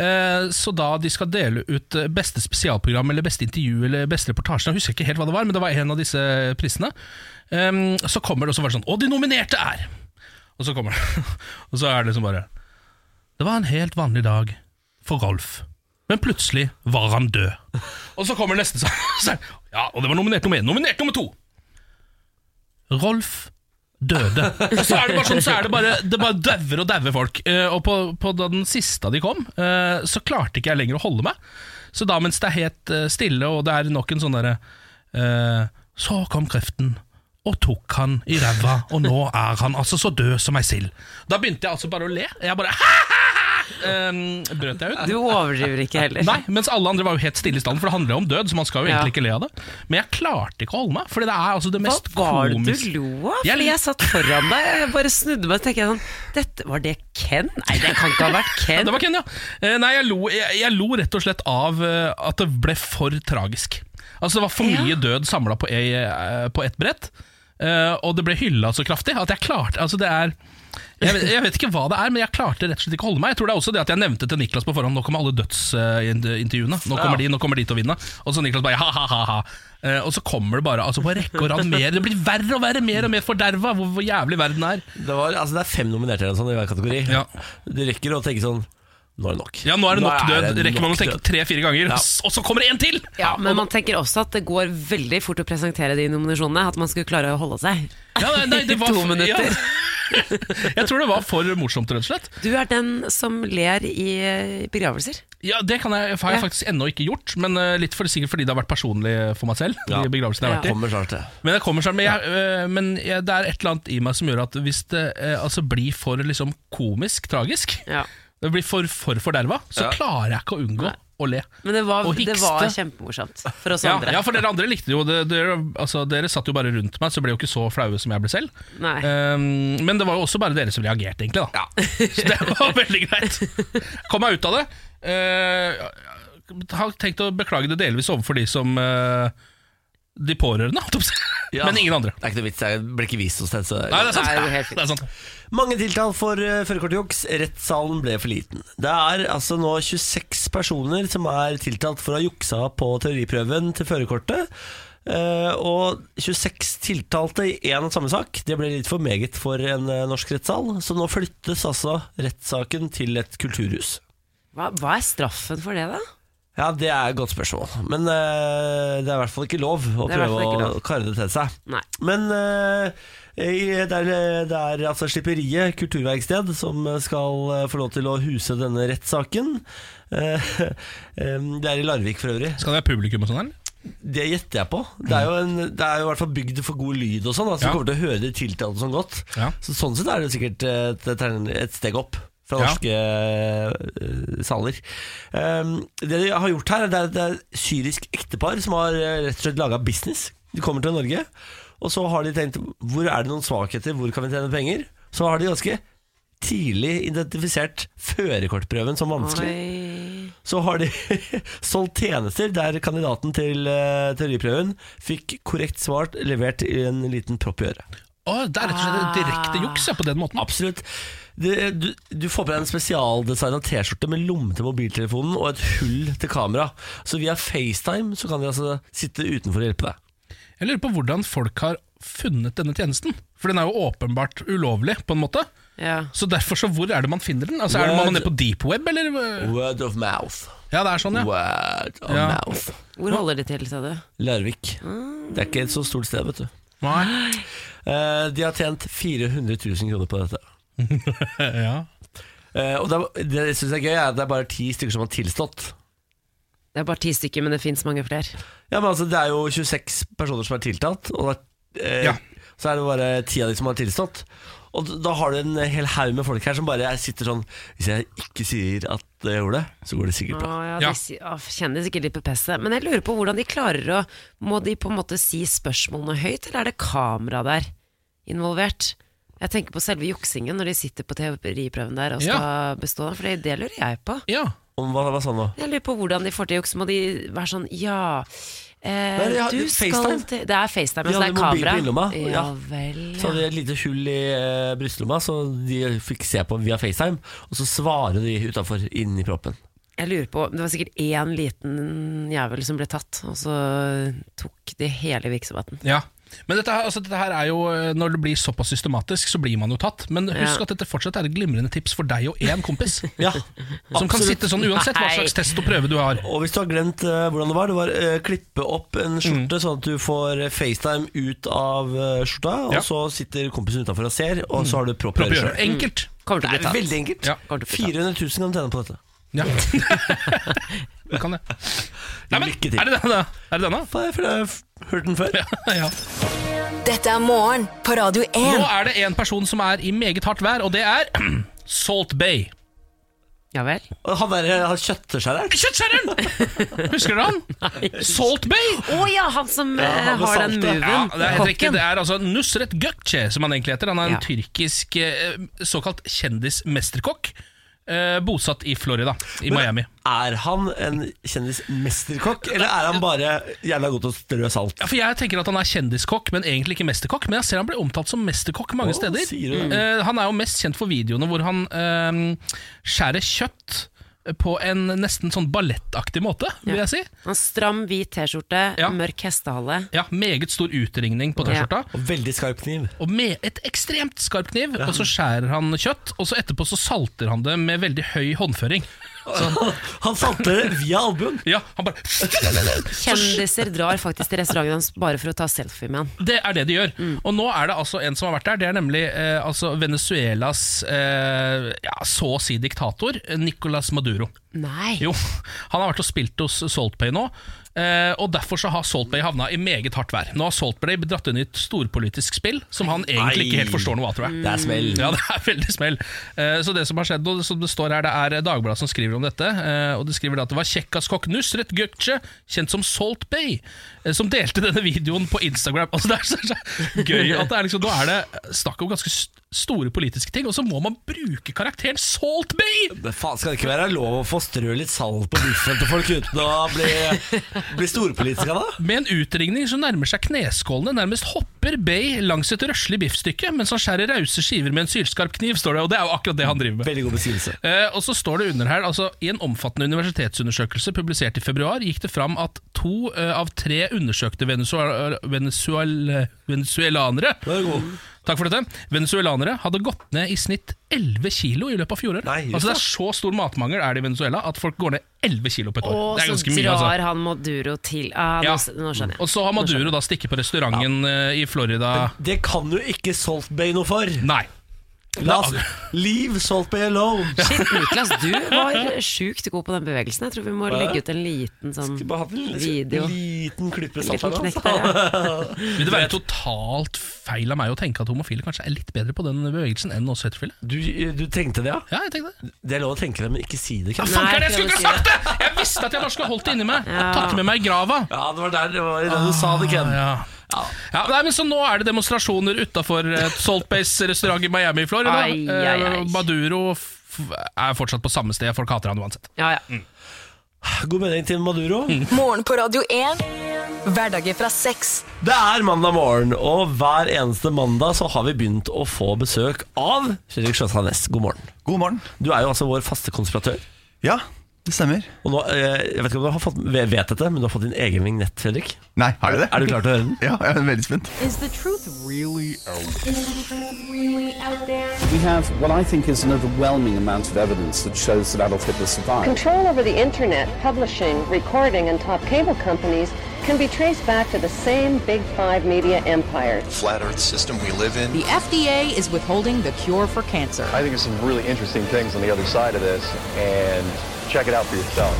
Speaker 3: Eh, så da de skal dele ut eh, beste spesialprogram, eller beste intervju, eller beste reportasje, jeg husker ikke helt hva det var, men det var en av disse prisene, Ehm, så kommer det og så var det sånn Og de nominerte er Og så kommer det, og så er det liksom bare Det var en helt vanlig dag for Rolf. Men plutselig var han død. Og så kommer neste sak. Så er det, Ja, og det var nominert nummer én. Nominert nummer to! Rolf døde. Og så er det bare sånn, så er det bare Det bare dauer og dauer folk. Eh, og på, på da den siste de kom, eh, så klarte ikke jeg lenger å holde meg. Så da mens det er helt eh, stille, og det er nok en sånn derre eh, Så kom kreften og tok han i ræva, og nå er han altså så død som ei sild. Da begynte jeg altså bare å le. Jeg bare um, Brøt jeg ut?
Speaker 2: Du overdriver ikke heller.
Speaker 3: Nei, mens alle andre var jo helt stille i stallen, for det handler jo om død, så man skal jo
Speaker 2: Ja.
Speaker 3: egentlig ikke le av det. Men jeg klarte ikke å holde meg, Fordi det er altså det
Speaker 2: Hva
Speaker 3: mest
Speaker 2: var det
Speaker 3: komiske
Speaker 2: du lo av?
Speaker 3: Jeg-
Speaker 2: Fordi jeg satt foran deg, jeg bare snudde meg og tenkte jeg sånn Dette, Var det Ken? Nei, det kan ikke ha vært
Speaker 3: Ja,
Speaker 2: Ken.
Speaker 3: det var Ken, ja. Eh, Nei, jeg lo, jeg, jeg lo rett og slett av eh, at det ble for tragisk. Altså, det var for mye
Speaker 2: Ja.
Speaker 3: død samla på, ei, eh, på ett brett, eh, og det ble hylla så kraftig at jeg klarte Altså, det er jeg vet, jeg vet ikke hva det er, men jeg klarte rett og slett ikke å holde meg. Jeg tror det er også det at jeg nevnte til Niklas på forhånd Nå kommer alle dødsintervjuene. Nå kommer de, nå kommer de til å vinne. Og så Niklas bare ha-ha-ha. Eh, og så kommer det bare altså på rekke og rad mer. Det blir verre og verre, mer og mer forderva hvor, hvor jævlig verden er.
Speaker 1: Det, var, altså, det er fem nominerte eller noe sånt i hver kategori.
Speaker 3: Ja.
Speaker 1: Du rekker å tenke sånn Nå er det nok.
Speaker 3: Ja, nå er det nok død.
Speaker 1: det
Speaker 3: Rekker man å
Speaker 1: nok
Speaker 3: tenke
Speaker 1: død.
Speaker 3: tre-fire ganger,
Speaker 1: Ja.
Speaker 3: s- og så kommer det en til!
Speaker 2: Ja, men man tenker også at det går veldig fort å presentere de nominasjonene. At man skulle klare å holde seg.
Speaker 3: Ja, nei, nei, det var,
Speaker 2: To minutter.
Speaker 3: Ja. Jeg tror det var for morsomt, rett og slett.
Speaker 2: Du er den som ler i begravelser.
Speaker 3: Ja, Det kan jeg, har jeg
Speaker 2: Ja.
Speaker 3: faktisk ennå ikke gjort, men eh, litt for sikkert fordi det har vært personlig for meg selv.
Speaker 1: Ja.
Speaker 3: De begravelsene jeg har
Speaker 2: Ja.
Speaker 3: vært i
Speaker 1: Kommer snart, det.
Speaker 3: Men, jeg kommer snart, men, jeg, eh, men jeg, det er et eller annet i meg som gjør at hvis det eh, altså, blir for liksom, komisk, tragisk,
Speaker 2: Ja.
Speaker 3: det blir for, for forderva, så
Speaker 1: Ja.
Speaker 3: klarer jeg ikke å unngå å le.
Speaker 2: Men det var,
Speaker 3: Og
Speaker 2: det
Speaker 3: hikste.
Speaker 2: var kjempemorsomt for oss
Speaker 3: Ja,
Speaker 2: andre.
Speaker 3: ja, for dere andre likte det jo det. Dere, altså, dere satt jo bare rundt meg, så ble jo ikke så flaue som jeg ble selv.
Speaker 2: Nei.
Speaker 3: Ehm, men det var jo også bare dere som reagerte, egentlig. Da. Så det var veldig greit. Kom meg ut av det. Eh, jeg har tenkt å beklage det delvis overfor de som eh, De pårørende, holdt jeg på å si.
Speaker 1: Ja.
Speaker 3: men ingen andre.
Speaker 1: Det er ikke noe vits, jeg ble ikke vist hos den. Så
Speaker 3: Nei, det er sant.
Speaker 2: Nei, det er helt fint.
Speaker 3: Det er sant.
Speaker 1: Mange tiltalt for uh, førerkortjuks. Rettssalen ble for liten. Det er altså nå 26 personer som er tiltalt for å ha juksa på teoriprøven til førerkortet. Eh, og 26 tiltalte i én og samme sak. Det ble litt for meget for en eh, norsk rettssal, så nå flyttes altså rettssaken til et kulturhus.
Speaker 2: Hva, hva er straffen for det, da?
Speaker 1: Ja, det er et godt spørsmål. Men eh, det er i hvert fall ikke lov å
Speaker 2: Det er i hvert
Speaker 1: prøve
Speaker 2: fall ikke
Speaker 1: å karre det til seg.
Speaker 2: Nei.
Speaker 1: Men eh, i- det er, det er altså Slipperiet kulturverksted som skal eh, få lov til å huse denne rettssaken. Eh, eh, det er i Larvik for øvrig.
Speaker 3: Skal det være publikum og sånn, eller?
Speaker 1: Det gjetter jeg på. Det er jo, en, det er jo i hvert fall bygd for god lyd og sånn, altså,
Speaker 3: Ja.
Speaker 1: du kommer til å høre de tiltalte sånn godt.
Speaker 3: Ja.
Speaker 1: Så sånn sett er det sikkert et, et steg opp fra
Speaker 3: Ja.
Speaker 1: norske eh, saler. Um, det de har gjort her, det er, det er et syrisk ektepar som har eh, rett og slett laga business. De kommer til Norge, og så har de tenkt hvor er det noen svakheter, hvor kan vi tjene penger? Så har de ganske tidlig identifisert førerkortprøven som vanskelig
Speaker 2: Oi.
Speaker 1: så har de solgt tjenester der kandidaten til eh, teoriprøven fikk korrekt svart levert i en liten propp i øret.
Speaker 3: Å, det er rett og slett direkte juks ja, på den måten.
Speaker 1: Absolutt. Det, du, du får på deg en spesialdesigna T-skjorte med lomme til mobiltelefonen og et hull til kamera. Så via FaceTime så kan de altså sitte utenfor og hjelpe deg.
Speaker 3: Jeg lurer på hvordan folk har funnet denne tjenesten. For den er jo åpenbart ulovlig, på en måte.
Speaker 2: Ja.
Speaker 3: Så derfor så hvor er det man finner den? Altså, er det man nede på deep web, eller?
Speaker 2: Oh.
Speaker 1: Word of mouth.
Speaker 3: Ja, det er sånn, ja.
Speaker 1: Word of
Speaker 3: Ja.
Speaker 1: mouth.
Speaker 2: Hvor holder de til, sa du?
Speaker 1: Larvik. Det er ikke et så stort sted, vet du.
Speaker 3: Nei.
Speaker 1: Eh, de har tjent 400 000 kroner på dette.
Speaker 3: ja.
Speaker 1: Eh, og det, er- det jeg synes er gøy, er at det er bare ti stykker som har tilstått.
Speaker 2: Det er bare ti stykker, men det fins mange flere.
Speaker 1: Ja, men altså, Det er jo 26 personer som er tiltalt, og det er, eh,
Speaker 3: Ja.
Speaker 1: så er det bare ti av de som har tilstått. Og d- da har du en hel haug med folk her som bare sitter sånn Hvis jeg ikke sier at jeg gjorde det, så går det sikkert
Speaker 2: Å,
Speaker 1: bra.
Speaker 2: ja,
Speaker 3: Ja.
Speaker 2: de si- å, kjenner sikkert litt på pesset. Men jeg lurer på hvordan de klarer å Må de på en måte si spørsmålene høyt, eller er det kamera der involvert? Jeg tenker på selve juksingen når de sitter på teoriprøven der og skal bestå. For det lurer jeg på.
Speaker 3: ja.
Speaker 1: Om hva, hva sa han nå?
Speaker 2: Jeg lurer på hvordan de får til juks. Må de være sånn Ja, eh,
Speaker 1: Nei, de har-
Speaker 2: du skal
Speaker 1: FaceTime.
Speaker 2: til Det er FaceTime,
Speaker 1: De
Speaker 2: altså
Speaker 1: hadde
Speaker 2: det er
Speaker 1: mobil
Speaker 2: kamera.
Speaker 1: på innlomma,
Speaker 2: Ja,
Speaker 1: ja.
Speaker 2: vel.
Speaker 1: Så hadde de et lite hull i eh, brystlomma, så de fikk se på via FaceTime. Og så svarer de utafor, inn i proppen.
Speaker 2: Jeg lurer på Det var sikkert én liten jævel som ble tatt, og så tok de hele virksomheten.
Speaker 3: ja. Men dette, her- altså, dette her er jo eh, Når det blir såpass systematisk, så blir man jo tatt. Men husk
Speaker 2: Ja.
Speaker 3: at dette fortsatt er et glimrende tips for deg og én kompis.
Speaker 1: Ja,
Speaker 3: Som kan sitte sånn uansett hva
Speaker 2: Nei.
Speaker 3: slags test og prøve du har.
Speaker 1: Og hvis du har glemt eh, hvordan det var, det var eh, klippe opp en skjorte
Speaker 3: Mm.
Speaker 1: sånn at du får eh, FaceTime ut av eh, skjorta,
Speaker 3: Ja.
Speaker 1: og så sitter kompisen utafor og ser, og så har du propp i
Speaker 3: Propp i
Speaker 1: øret.
Speaker 3: øret. Enkelt.
Speaker 2: Kommer til å
Speaker 1: Det
Speaker 2: bli
Speaker 1: er
Speaker 2: tatt.
Speaker 1: veldig enkelt.
Speaker 3: Ja.
Speaker 2: Kommer til å bli tatt.
Speaker 1: 400 000 kan du tjene på dette.
Speaker 3: Ja. det kan jeg. Nei, men,
Speaker 1: Lykke til.
Speaker 3: Er det denne? Er det denne?
Speaker 1: For jeg føler jeg har hørt den før.
Speaker 3: Ja.
Speaker 5: Dette er morgen på Radio
Speaker 3: Nå
Speaker 5: 1.
Speaker 3: er det en person som er i meget hardt vær, og det er Salt Bay.
Speaker 2: Ja vel.
Speaker 1: Og han der han kjøtteskjæreren.
Speaker 3: Kjøttskjæreren! Husker du han? Salt Bay!
Speaker 2: Å ja, han som eh,
Speaker 1: han med
Speaker 2: har den
Speaker 1: saltet.
Speaker 2: moven.
Speaker 3: Ja, det er helt riktig.
Speaker 2: Kokken.
Speaker 3: Det er altså Nusret Gökçe, som han egentlig heter. Han er en
Speaker 2: Ja.
Speaker 3: tyrkisk eh, såkalt kjendismesterkokk, eh, bosatt i Florida, i Miami.
Speaker 1: Er han en kjendismesterkokk, eller er han bare jævla god til å strø salt?
Speaker 3: Ja, for Jeg tenker at han er kjendiskokk, men egentlig ikke mesterkokk. Men jeg ser han blir omtalt som mesterkokk mange
Speaker 1: Å,
Speaker 3: steder.
Speaker 1: sier du det?
Speaker 3: Eh, han er jo mest kjent for videoene hvor han eh, skjærer kjøtt på en nesten sånn ballettaktig måte, vil jeg si.
Speaker 2: En stram, hvit T-skjorte,
Speaker 3: Ja.
Speaker 2: mørk hestehale.
Speaker 3: Ja, Meget stor utringning på T-skjorta.
Speaker 1: Og veldig skarp kniv.
Speaker 3: Og med et ekstremt skarp kniv, og så skjærer han kjøtt. Og så etterpå så salter han det med veldig høy håndføring.
Speaker 1: Han salte det via albuen.
Speaker 3: Ja, han bare
Speaker 2: Kjendiser drar faktisk til restauranten hans bare for å ta selfie med han.
Speaker 3: Det er det de gjør. Og nå er det altså en som har vært der. Det er nemlig eh, altså Venezuelas eh, ja, så å si diktator, eh, Nicolas Maduro.
Speaker 2: Nei.
Speaker 3: Jo, han har vært og spilt hos Saltbay nå. eh, Og derfor så har Saltbay havna i meget hardt vær. Nå har Saltbay dratt inn i et storpolitisk spill som han egentlig ikke helt forstår noe av, tror jeg.
Speaker 1: Det er smell.
Speaker 3: Ja, det er veldig smell. Eh, Så det som har skjedd, og som det står her, det er Dagbladet som skriver om dette. eh, Og de skriver da at det var kjekkaskokk Nusret Gökçe, kjent som Salt Bay, eh, som delte denne videoen på Instagram. Altså Det er så, så gøy at det er liksom, nå er det snakk om ganske st- store politiske ting, og så må man bruke karakteren Salt Bay!
Speaker 1: Men faen, skal det ikke være lov å få strø litt salt på biffen til folk uten å bli, bli storpolitiker av det?
Speaker 3: Med en utringning som nærmer seg kneskålene, nærmest hopper Bay langs et røslig biffstykke, mens han skjærer rause skiver med en sylskarp kniv, står det, og det er jo akkurat det han driver med.
Speaker 1: Veldig god beskrivelse.
Speaker 3: Eh, og så står det under her altså, I en omfattende universitetsundersøkelse publisert i februar gikk det fram at to eh, av tre undersøkte venezuel venezuel venezuelanere
Speaker 1: Nå er du god.
Speaker 3: Takk for dette Venezuelanere hadde gått ned i snitt 11 kilo i løpet av fjoråret.
Speaker 1: Nei, just
Speaker 3: altså, det er så stor matmangel er det i Venezuela at folk går ned 11 kilo på et år.
Speaker 2: Og
Speaker 3: det er
Speaker 2: så
Speaker 3: ganske
Speaker 2: drar
Speaker 3: mye, altså.
Speaker 2: han Maduro til ah,
Speaker 3: Ja.
Speaker 2: nå, s- nå skjønner jeg.
Speaker 3: Og så har Maduro da stikket på restauranten eh, i Florida.
Speaker 1: Det kan jo ikke Salt Bay noe for.
Speaker 3: Nei.
Speaker 1: La oss leave Salt Bay alone.
Speaker 2: Shit, Niklas, du var sjukt god på den bevegelsen. Jeg tror vi må legge ut en liten sånn
Speaker 1: Skulle bare hatt en
Speaker 2: video.
Speaker 1: liten, liten klipp med salt her. altså. nå, så.
Speaker 2: Liten knekk der, ja.
Speaker 3: Vil det være totalt feil av meg å tenke at homofile kanskje er litt bedre på den bevegelsen enn oss heterofile?
Speaker 1: Du, du trengte det, ja?
Speaker 3: Ja, jeg tenkte det.
Speaker 1: Det er lov å tenke det, men ikke si det. Kjell.
Speaker 3: Ja, faen,
Speaker 2: Nei,
Speaker 3: hva er det jeg
Speaker 2: prøv
Speaker 3: skulle
Speaker 2: å
Speaker 3: ikke ha sagt det! Jeg visste at jeg bare skulle ha holdt det inni meg.
Speaker 2: Ja.
Speaker 3: Tatt det med meg i grava.
Speaker 1: Ja, det var der det var i det du sa det, Ken.
Speaker 3: Ja. Ja, nei, men så Nå er det demonstrasjoner utafor Salt Base restaurant i Miami i Florida.
Speaker 2: Ai, ai, ai.
Speaker 3: Eh, Maduro f er fortsatt på samme sted, folk hater han uansett.
Speaker 2: Ja, ja.
Speaker 1: God melding til Maduro.
Speaker 5: Morgen på Radio 1. Hverdager fra seks.
Speaker 1: Det er mandag morgen, og hver eneste mandag så har vi begynt å få besøk av Fredrik Sjøsand Næss. God morgen.
Speaker 8: God morgen.
Speaker 1: Du er jo altså vår faste konspiratør.
Speaker 8: Ja, det stemmer.
Speaker 1: Og nå, eh, jeg vet ikke om du har fått, vet dette, men du har fått din egen vignett, Fredrik.
Speaker 8: Nei, har jeg det?
Speaker 1: Er du klar til å høre den?
Speaker 8: Ja, jeg er veldig spent.
Speaker 9: We have what I think is an overwhelming amount of evidence that shows that Adolf Hitler survived.
Speaker 10: Control over the internet, publishing, recording, and top cable companies can be traced back to the same Big Five media empire.
Speaker 11: flat earth system we live in.
Speaker 12: The FDA is withholding the cure for cancer.
Speaker 11: I think there's some really interesting things on the other side of this, and check it out for yourself.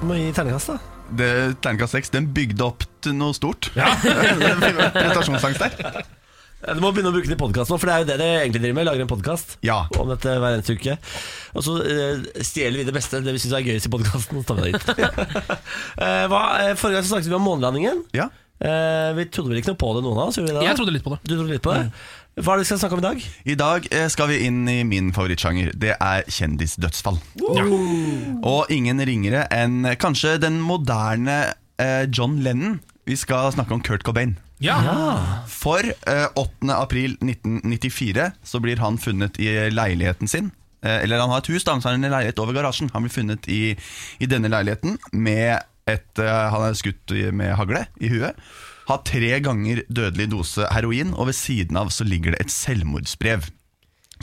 Speaker 1: Du må gi terningkast, da.
Speaker 8: Det, Terningkast 6 den bygde opp til noe stort. Ja. Prestasjonsangst der.
Speaker 1: Eh, Du må begynne å bruke den i podkast nå, for det er jo det dere egentlig driver med. Lager en podkast
Speaker 8: Ja.
Speaker 1: om dette hver eneste uke. Og så eh, stjeler vi det beste, det vi syns er gøyest i podkasten, og så tar vi det hit. eh, hva, eh, forrige gang så snakket vi om månelandingen.
Speaker 8: Ja.
Speaker 1: Eh, vi trodde vel ikke noe på det, noen av oss? Gjorde vi det? da?
Speaker 3: Jeg trodde litt på det. Mm.
Speaker 1: Du trodde litt på det? Hva er det vi skal snakke om i dag?
Speaker 8: I dag eh, skal vi inn i min favorittsjanger. Det er kjendisdødsfall. Og ingen ringere enn kanskje den moderne eh, John Lennon. Vi skal snakke om Kurt Cobain.
Speaker 3: Ja.
Speaker 8: For eh, 8. april 1994 så blir han funnet i leiligheten sin. Eh, eller han har et hus, da, men så har han en leilighet over garasjen. Han blir funnet i, i denne leiligheten med et eh, Han er skutt i- med hagle i huet. Har tre ganger dødelig dose heroin, og ved siden av så ligger det et selvmordsbrev.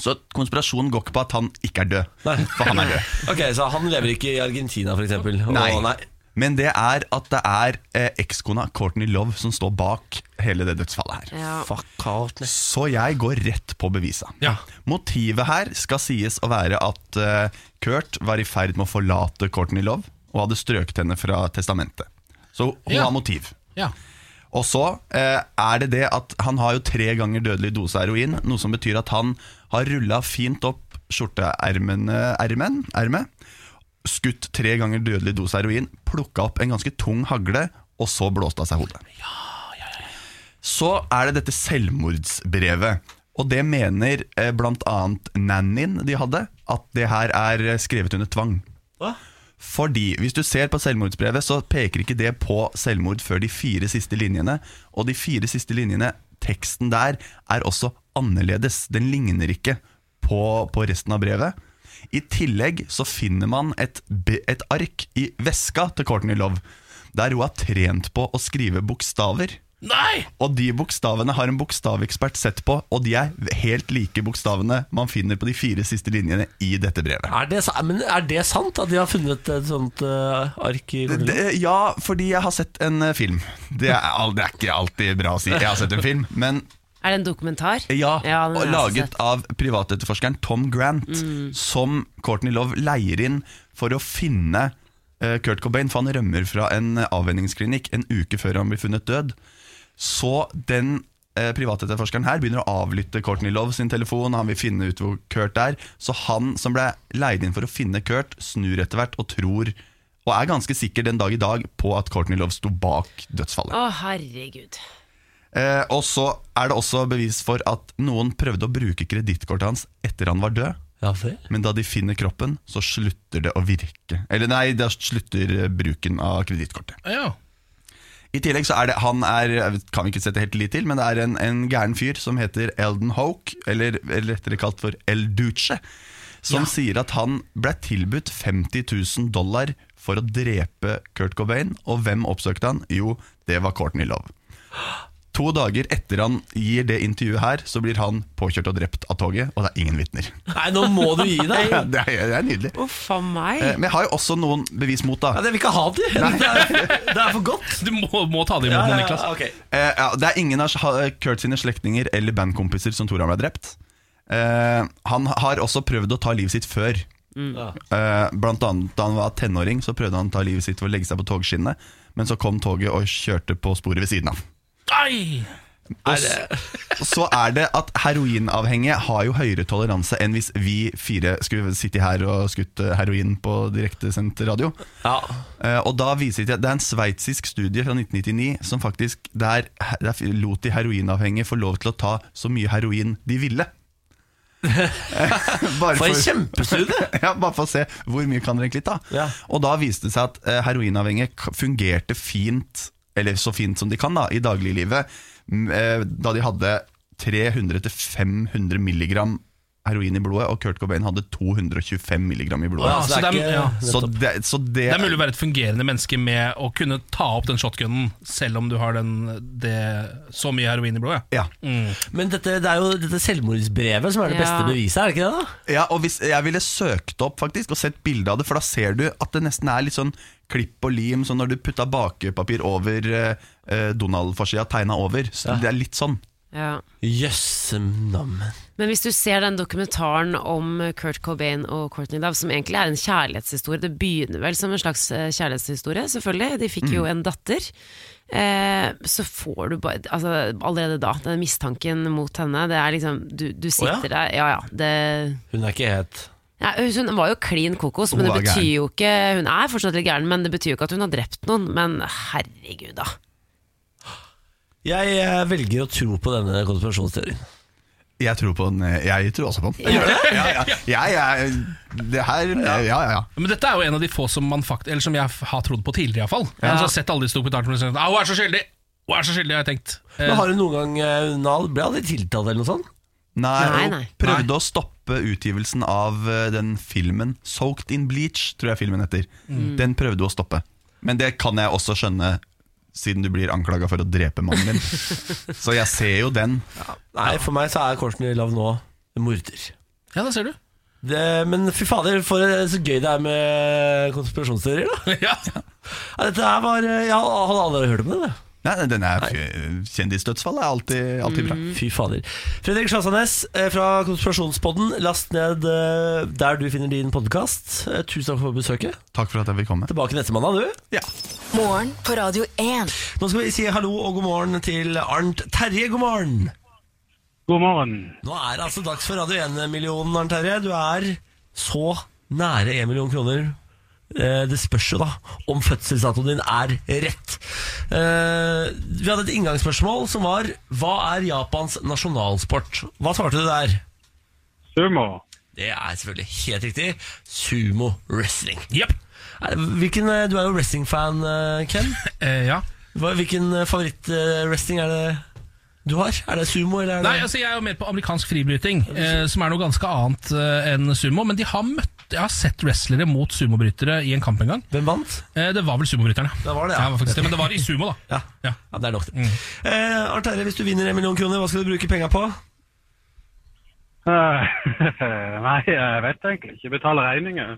Speaker 8: Så konspirasjonen går ikke på at han ikke er død. For han er død.
Speaker 1: Ok, Så han lever ikke i Argentina, f.eks.?
Speaker 8: Nei.
Speaker 1: nei.
Speaker 8: Men det er at det er eh, ekskona Courtney Love som står bak hele det dødsfallet her.
Speaker 1: Ja. Fuck
Speaker 8: Så jeg går rett på bevisa. Motivet her skal sies å være at eh, Kurt var i ferd med å forlate Courtney Love og hadde strøket henne fra testamentet. Så hun
Speaker 3: Ja.
Speaker 8: har motiv.
Speaker 3: Ja.
Speaker 8: Og så eh, er det det at han har jo tre ganger dødelig dose heroin, noe som betyr at han har rulla fint opp skjorteermene- ermen, ermet, skutt tre ganger dødelig dose heroin, plukka opp en ganske tung hagle, og så blåst av seg hodet. Så er det dette selvmordsbrevet. Og det mener eh, bl.a. nannyen de hadde, at det her er eh, skrevet under tvang. Fordi hvis du ser på selvmordsbrevet, så peker ikke det på selvmord før de fire siste linjene. Og de fire siste linjene, teksten der, er også annerledes. Den ligner ikke på, på resten av brevet. I tillegg så finner man et, b- et ark i veska til Courtney Love, der hun har trent på å skrive bokstaver.
Speaker 3: Nei!
Speaker 8: Og de bokstavene har en bokstavekspert sett på, og de er helt like bokstavene man finner på de fire siste linjene i dette brevet.
Speaker 1: Er det, sa- men er det sant at de har funnet et sånt eh, ark i
Speaker 8: Det- det- Ja, fordi jeg har sett en eh, film. Det er, al- det er ikke alltid bra å si. Jeg har sett en film, men
Speaker 2: Er det en dokumentar?
Speaker 8: ja,
Speaker 2: den
Speaker 8: og
Speaker 2: har jeg
Speaker 8: laget
Speaker 2: sett. Mm.
Speaker 8: av privatetterforskeren Tom Grant, som Courtney Love leier inn for å finne eh, Kurt Cobain, for han rømmer fra en eh, avvenningsklinikk en uke før han blir funnet død. Så den eh, privatetterforskeren her begynner å avlytte Courtney Love sin telefon, han vil finne ut hvor Kurt er, så han som ble leid inn for å finne Kurt, snur etter hvert og tror og er ganske sikker den dag i dag på at Courtney Love sto bak dødsfallet.
Speaker 2: Å, herregud.
Speaker 8: Eh, og så er det også bevis for at noen prøvde å bruke kredittkortet hans etter han var død. Men da de finner kroppen, så slutter det å virke. Eller nei, da slutter eh, bruken av kredittkortet.
Speaker 3: Ja.
Speaker 8: I tillegg så er det Han er, jeg vet- kan vi ikke sette helt lit til, men det er en, en gæren fyr som heter Eldon Hoke, eller eller rettere kalt for El Duce, som sier at han ble tilbudt 50 000 dollar for å drepe Kurt Cobain. Og hvem oppsøkte han? Jo, det var Courtney Love. To dager etter han gir det intervjuet her, så blir han påkjørt og drept av toget, og det er ingen vitner.
Speaker 1: Nei, nå må du gi deg.
Speaker 8: Ja, det, er, det er nydelig.
Speaker 2: Uff a meg.
Speaker 8: Eh, Men jeg har jo også noen bevis mot, da.
Speaker 1: Ja, det vil ikke ha det. Det er, det er for godt.
Speaker 3: Du må, må ta det
Speaker 1: Ja,
Speaker 3: imot
Speaker 1: ja,
Speaker 3: nå,
Speaker 1: ja,
Speaker 3: Niklas.
Speaker 1: ok.
Speaker 8: Eh, ja, det er ingen av ha- Kurt sine slektninger eller bandkompiser som tror han ble drept. Eh, han har også prøvd å ta livet sitt før. Eh, blant annet da han var tenåring, så prøvde han å ta livet sitt ved å legge seg på togskinnet, men så kom toget og kjørte på sporet ved siden av.
Speaker 3: Ai!
Speaker 8: Og s- så er det at heroinavhengige har jo høyere toleranse enn hvis vi fire skulle sitte her og skutt eh, heroin på direktesendt radio. Eh, Og da viser de at det er en sveitsisk studie fra 1999 som faktisk der, der lot de heroinavhengige få lov til å ta så mye heroin de ville. Eh, Bare
Speaker 1: For en kjempestudie!
Speaker 8: ja, bare for å se hvor mye kan dere egentlig ta. Og da viste det seg at eh, heroinavhengige k- fungerte fint, eller så fint som de kan da, i dagliglivet, m, eh, da de hadde 300-500 milligram heroin i blodet, og Kurt Cobain hadde 225 milligram i blodet.
Speaker 3: Ja, så det er- ja,
Speaker 8: så det, så det,
Speaker 3: Det er mulig å være et fungerende menneske med å kunne ta opp den shotgunen, selv om du har den, det, så mye heroin i blodet.
Speaker 8: Ja.
Speaker 3: Mm.
Speaker 1: Men dette, det er jo dette selvmordsbrevet som er det beste
Speaker 3: Ja.
Speaker 1: beviset, er det ikke det? da?
Speaker 8: Ja, og hvis, Jeg ville søkt opp faktisk og sett bilde av det, for da ser du at det nesten er litt sånn klipp og lim, som når du putta bakepapir over eh, eh, Donald-forsida, tegna over. Så Det er litt sånn.
Speaker 2: Ja.
Speaker 1: Jøssenammen.
Speaker 2: Men hvis du ser den dokumentaren om Kurt Cobain og Courtney Love, som egentlig er en kjærlighetshistorie, det begynner vel som en slags eh, kjærlighetshistorie, selvfølgelig, de fikk jo
Speaker 13: Mm.
Speaker 2: en datter, eh, så får du bare altså, Allerede da, den mistanken mot henne, det er liksom Du, du
Speaker 1: Å, ja?
Speaker 2: sitter der Ja ja, det
Speaker 1: Hun er ikke het.
Speaker 2: ja, hun var jo klin kokos, men
Speaker 1: Hun
Speaker 2: det
Speaker 1: var
Speaker 2: betyr
Speaker 1: gæren.
Speaker 2: jo ikke Hun er fortsatt litt gæren, men det betyr jo ikke at hun har drept noen. Men herregud, da.
Speaker 1: Jeg eh, velger å tro på denne konspirasjonsteorien.
Speaker 8: Jeg tror på den. eh, Jeg tror også på den. Gjør det? Ja, ja. Jeg er- det her Ja, ja, ja.
Speaker 3: Men dette er jo en av de få som, man fakt eller som jeg f- har trodd på tidligere, iallfall.
Speaker 1: Ja.
Speaker 3: Ja. Altså, jeg har sett alle disse dokumentarene og tenkt «Ah, hun er så skyldig! Hun er så skyldig, har jeg tenkt. Eh,
Speaker 1: Men Har hun noen gang eh, hun al- ble aldri tiltalt eller noe sånt?
Speaker 8: Nei,
Speaker 1: Nei,
Speaker 8: hun
Speaker 1: nei.
Speaker 8: prøvde å stoppe utgivelsen av eh, den filmen 'Soaked in Bleach', tror jeg filmen heter.
Speaker 1: Mm.
Speaker 8: Den prøvde hun å stoppe. Men det kan jeg også skjønne, siden du blir anklaga for å drepe mannen din. Så jeg ser jo den.
Speaker 1: Nei, for meg så er Courtney Love nå en morder.
Speaker 3: Eh, Ja, det ser du.
Speaker 1: Det, men fy fader, for eh, så gøy det er med konspirasjonsteorier, da. Ja, dette her var eh, Jeg hadde aldri hørt om det. det.
Speaker 8: Nei, Mm. den er Kjendisdødsfall er alltid, alltid bra.
Speaker 1: Fy fader. Fredrik Slassanes eh, fra Konspirasjonspodden, last ned eh, der du finner din podkast. Tusen takk for besøket.
Speaker 8: Takk for at jeg fikk komme.
Speaker 1: Tilbake neste mandag, du.
Speaker 5: Morgen på Radio 1.
Speaker 1: Nå skal vi si hallo og god morgen til Arnt Terje. God morgen.
Speaker 13: God morgen.
Speaker 1: Nå er det altså dags for Radio 1-millionen, Arnt Terje. Du er så nære 1 million kroner. Eh, Det spørs jo da om fødselsdatoen din er rett. Eh, Vi hadde et inngangsspørsmål som var Hva er Japans nasjonalsport? Hva svarte du der?
Speaker 13: Sumo.
Speaker 1: Det er selvfølgelig helt riktig. Sumo wrestling. Er- Hvilken, eh, du er jo wrestling-fan, eh, Ken.
Speaker 3: ja.
Speaker 1: Hvilken eh, favoritt-wrestling er det du har? Er det sumo, eller er det
Speaker 3: Nei, altså Jeg er jo mer på amerikansk fribryting, eh, som er noe ganske annet eh, enn sumo. Men de har møtt, jeg har sett wrestlere mot sumobrytere i en kamp en gang.
Speaker 1: Hvem vant?
Speaker 3: Eh, det var vel sumobryterne.
Speaker 1: Det var det,
Speaker 3: ja. var faktisk det, men det var i sumo, da.
Speaker 1: Ja, ja det er
Speaker 3: Mm.
Speaker 1: nok det. Eh, Arnt Terje, hvis du vinner en million kroner, hva skal du bruke penga på?
Speaker 13: Eh, Nei, jeg vet egentlig ikke. Betale regninger.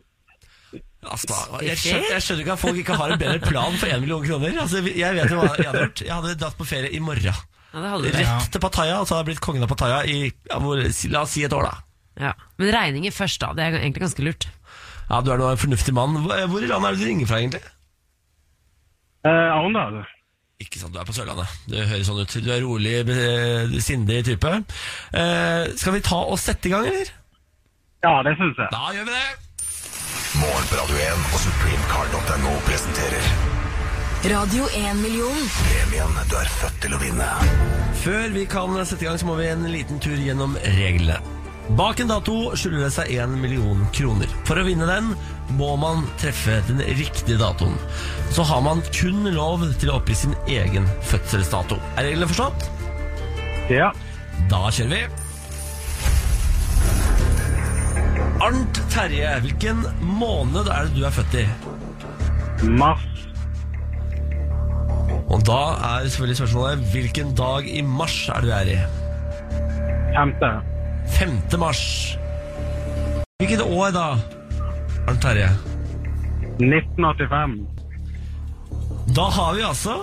Speaker 1: Altså, Jeg skjønner, jeg skjønner ikke at folk ikke har en bedre plan for en million kroner. Altså, jeg vet jo hva jeg hadde gjort. Jeg hadde dratt på ferie i morgen.
Speaker 2: hadde du.
Speaker 1: Rett til Pattaya, og så hadde jeg blitt kongen av Pattaya i ja, hvor, si- la oss si et år, da.
Speaker 2: Ja. Men regninger først, da. Det er egentlig ganske lurt.
Speaker 1: Ja, Du er nå en fornuftig mann. Hvor eh, hvor i landet er det du ringer fra, egentlig?
Speaker 13: Eh, Arendal.
Speaker 1: Ikke sant, du er på Sørlandet. Du høres sånn ut. Du er rolig, be- sindig type. Eh, skal vi ta og sette i gang, eller?
Speaker 13: Ja, det syns jeg.
Speaker 1: Da gjør vi det.
Speaker 14: Morgen på Radio 1 og supremecard.no presenterer
Speaker 5: Radio 1-million.
Speaker 14: premien du er født til å vinne.
Speaker 1: Før vi kan sette i gang, så må vi en liten tur gjennom reglene. Bak en dato skylder det seg 1 million kroner. For å vinne den må man treffe den riktige datoen. Så har man kun lov til å oppgi sin egen fødselsdato. Er reglene forstått?
Speaker 13: Ja.
Speaker 1: Da kjører vi. Arnt Terje, hvilken måned er det du er født i?
Speaker 13: Mars.
Speaker 1: Og da er selvfølgelig spørsmålet hvilken dag i mars er det du er i?
Speaker 13: Femte.
Speaker 1: 5. mars. Hvilket år da, Arnt Terje?
Speaker 13: 1985.
Speaker 1: Da har vi altså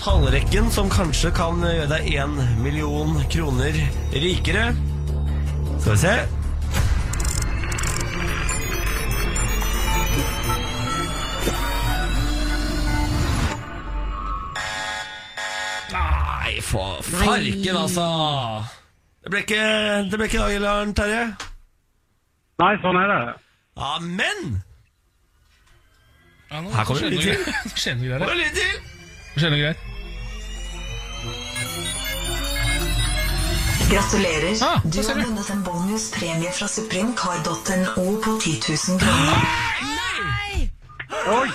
Speaker 1: tallrekken som kanskje kan gjøre deg 1 million kroner rikere. Skal vi se. Nei, for farken, altså. Det ble ikke, det ble ikke dag, Laren Terje.
Speaker 13: Nei, sånn er det.
Speaker 1: Amen!
Speaker 3: Ja, nå
Speaker 1: Her kommer
Speaker 3: skjer
Speaker 1: det litt
Speaker 3: noe
Speaker 1: til.
Speaker 3: greier. Skjer det noe greier?
Speaker 1: Kommer det litt til.
Speaker 3: Skjer det noe greier?
Speaker 5: Gratulerer.
Speaker 3: Ah.
Speaker 5: du har vunnet en bonuspremie fra supremecard.no på 10 000 kroner.
Speaker 13: Oi!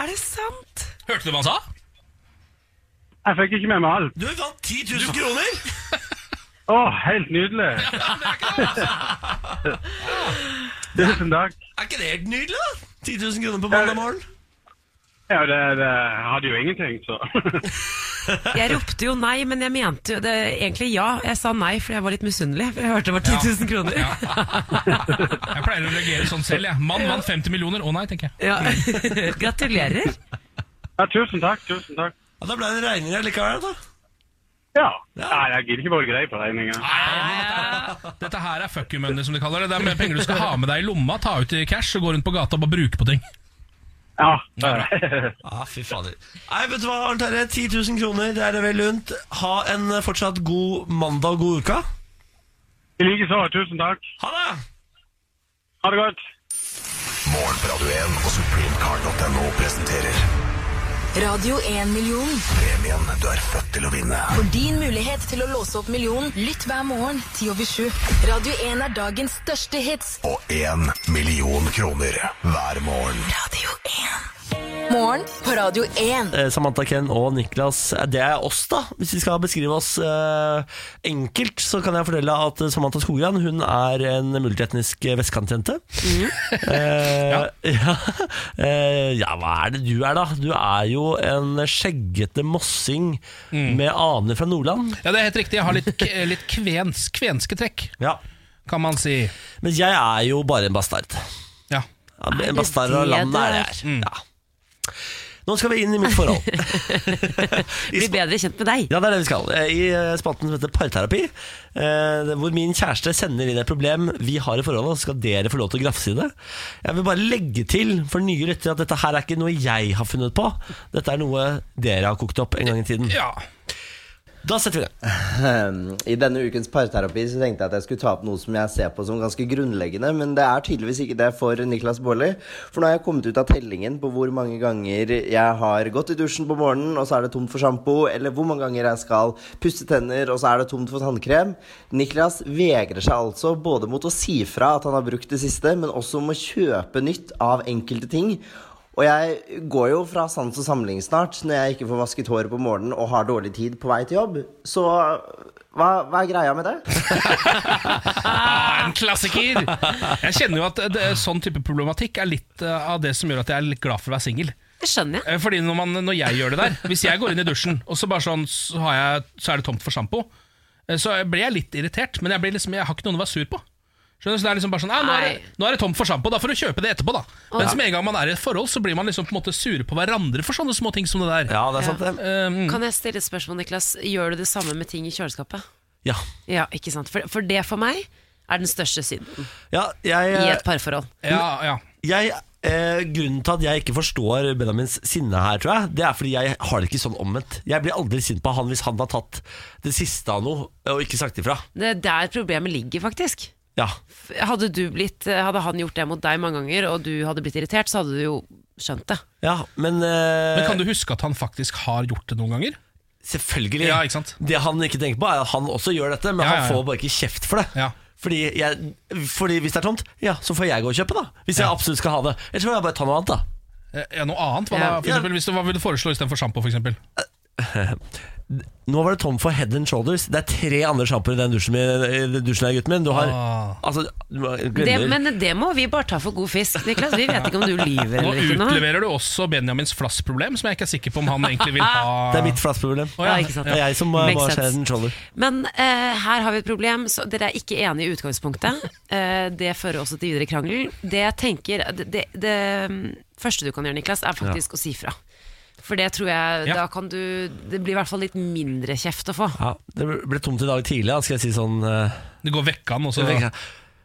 Speaker 2: Er det sant?
Speaker 3: Hørte du hva han sa?
Speaker 13: Jeg fikk ikke med meg alt.
Speaker 1: Du vant 10 000 kroner!
Speaker 13: Å, Ah, helt nydelig. Tusen takk.
Speaker 1: Er ikke det helt nydelig, da? 10 000 kroner på mandag morgen.
Speaker 13: Ja, det, det jeg hadde jo ingenting, så
Speaker 2: Jeg ropte jo nei, men jeg mente jo det, egentlig ja. Jeg sa nei fordi jeg var litt misunnelig. For jeg hørte det var 10 000 kroner.
Speaker 3: Jeg pleier å reagere sånn selv. jeg Mann vant 50 millioner. Å nei, tenker jeg.
Speaker 2: Ja. Gratulerer.
Speaker 13: Ja, tusen takk. Tusen takk.
Speaker 1: Ja, Da ble det regninger likevel, da.
Speaker 13: Ja. Nei, jeg gidder ikke være grei på regninga.
Speaker 3: Dette her er fuck you money, som de kaller det. Det er mer penger du skal ha med deg i lomma, ta ut i cash og gå rundt på gata og bare bruke på ting.
Speaker 13: Ja.
Speaker 1: Ja, Ah, fy fader. Nei, vet du hva, Arnt Terje. 10 000 kroner, det er det vel lunt. Ha en eh, fortsatt god mandag og god uke.
Speaker 13: I like så. Tusen takk.
Speaker 1: Ha det!
Speaker 13: Ha det godt.
Speaker 14: Morgen på Radio 1 og supremecard.no presenterer
Speaker 5: Radio 1-million.
Speaker 14: premien du er født til å vinne.
Speaker 5: For din mulighet til å låse opp millionen, lytt hver morgen 10 over 7. Radio 1 er dagens største hits.
Speaker 14: Og 1 million kroner hver morgen.
Speaker 5: Radio 1. Morgen på Radio 1.
Speaker 1: Eh, Samantha Ken og Niklas, eh, det er oss, da. Hvis vi skal beskrive oss eh, enkelt, så kan jeg fortelle at eh, Samantha Skogran hun er en multietnisk eh, vestkantjente.
Speaker 3: Mm.
Speaker 1: Eh, ja. Eh, ja, hva er det du er, da? Du er jo en skjeggete mossing med aner fra Nordland.
Speaker 3: Ja, Det er helt riktig. Jeg har litt, k- litt kvens, eh, kvenske trekk.
Speaker 1: Ja
Speaker 3: kan man si.
Speaker 1: Men jeg er jo bare en bastard.
Speaker 3: Ja.
Speaker 1: en bastard av
Speaker 3: det
Speaker 1: landet er jeg. her.
Speaker 3: det
Speaker 1: Ja. Nå skal vi inn i mitt forhold. Bli
Speaker 2: bedre kjent med deg.
Speaker 1: Ja, det er det vi skal. Eh, I eh, spalten som heter Parterapi, eh, det- hvor min kjæreste sender inn et problem vi har i forholdet, og så skal dere få lov til å grafse i det. Jeg vil bare legge til for nye lyttere at dette her er ikke noe jeg har funnet på. Dette er noe dere har kokt opp en gang i tiden. Da setter vi i gang.
Speaker 15: I denne ukens parterapi så tenkte jeg at jeg skulle ta opp noe som jeg ser på som ganske grunnleggende, men det er tydeligvis ikke det for Niklas Baarli. For nå har jeg kommet ut av tellingen på hvor mange ganger jeg har gått i dusjen på morgenen, og så er det tomt for sjampo, eller hvor mange ganger jeg skal pusse tenner, og så er det tomt for tannkrem. Niklas vegrer seg altså både mot å si fra at han har brukt det siste, men også om å kjøpe nytt av enkelte ting. Og jeg går jo fra sans og samling snart, når jeg ikke får vasket håret på morgenen og har dårlig tid på vei til jobb. Så hva, hva er greia med det?
Speaker 3: Ah, En klassiker! Jeg kjenner jo at det, sånn type problematikk er litt eh, av det som gjør at jeg er litt glad for å være singel.
Speaker 2: Skjønner
Speaker 3: jeg. Eh, Fordi når, man, når jeg gjør det der Hvis jeg går inn i dusjen, og så bare sånn Så, har jeg, så er det tomt for sjampo, eh, så blir jeg litt irritert. Men jeg, blir liksom, jeg har ikke noen å være sur på. Skjønner du? Så det er liksom bare sånn, «Ah, nå, er det, nå er det tomt for sjampo, da får du kjøpe det etterpå, da.
Speaker 2: Ja.
Speaker 3: Mens med en gang man er i et forhold, så blir man liksom på en måte sure på hverandre for sånne små ting som det der.
Speaker 1: Ja, det Mm.
Speaker 2: Kan jeg stille et spørsmål, Niklas? Gjør du det samme med ting i kjøleskapet?
Speaker 1: Ja.
Speaker 2: Ja, ikke sant? For, for det for meg er den største synden.
Speaker 1: Ja, jeg, eh,
Speaker 2: I et parforhold.
Speaker 3: Ja, ja.
Speaker 1: Jeg, eh, grunnen til at jeg ikke forstår Benjamins sinne her, tror jeg, det er fordi jeg har det ikke sånn omvendt. Jeg blir aldri sint på han hvis han har tatt det siste av noe og ikke sagt ifra.
Speaker 2: Det er der problemet ligger, faktisk.
Speaker 1: Ja.
Speaker 2: F- Hadde, du blitt, hadde han gjort det mot deg mange ganger, og du hadde blitt irritert, så hadde du jo skjønt det.
Speaker 1: Ja, men eh,
Speaker 3: Men kan du huske at han faktisk har gjort det noen ganger?
Speaker 1: Selvfølgelig.
Speaker 3: Ja, ikke sant?
Speaker 1: Det han ikke tenker på, er at han også gjør dette, men
Speaker 3: Ja, ja, ja.
Speaker 1: han får bare ikke kjeft for det. Fordi, jeg, fordi hvis det er tomt, ja, så får jeg gå og kjøpe, da. Hvis jeg absolutt skal ha det. Ellers får jeg bare ta noe annet, da.
Speaker 3: Eh, Ja, noe annet? Hva, da,
Speaker 1: Ja.
Speaker 3: for eksempel, hvis du, hva vil du foreslå istedenfor sjampo? For eksempel?
Speaker 1: Nå var det tom for head and shoulders. Det er tre andre sjampoer i den dusjen, min, i den dusjen her, gutten min. Du har
Speaker 3: Ah.
Speaker 1: Altså, du må-
Speaker 2: det.
Speaker 1: glemmer
Speaker 2: Men det må vi bare ta for god fisk, Niklas. Vi vet ikke om du lyver
Speaker 3: Nå
Speaker 2: eller ikke nå.
Speaker 3: utleverer du også Benjamins flassproblem, som jeg ikke er sikker på om han egentlig vil ha.
Speaker 1: Det er mitt flassproblem.
Speaker 3: Å, ja.
Speaker 2: Ja, ikke sant?
Speaker 3: Ja.
Speaker 1: Det er jeg som må
Speaker 2: Makes
Speaker 1: må ha
Speaker 2: sense.
Speaker 1: head and shoulder.
Speaker 2: Men eh, her har vi et problem. Så dere er ikke enige i utgangspunktet. Eh, det fører også til videre krangel. Det jeg tenker Det, det, det mm, første du kan gjøre, Niklas, er faktisk å si fra. For det tror jeg
Speaker 1: Ja.
Speaker 2: Da kan du Det blir i hvert fall litt mindre kjeft å få.
Speaker 1: Ja, det ble tomt i dag tidlig, da. Skal jeg si sånn
Speaker 3: Det går vekk han også.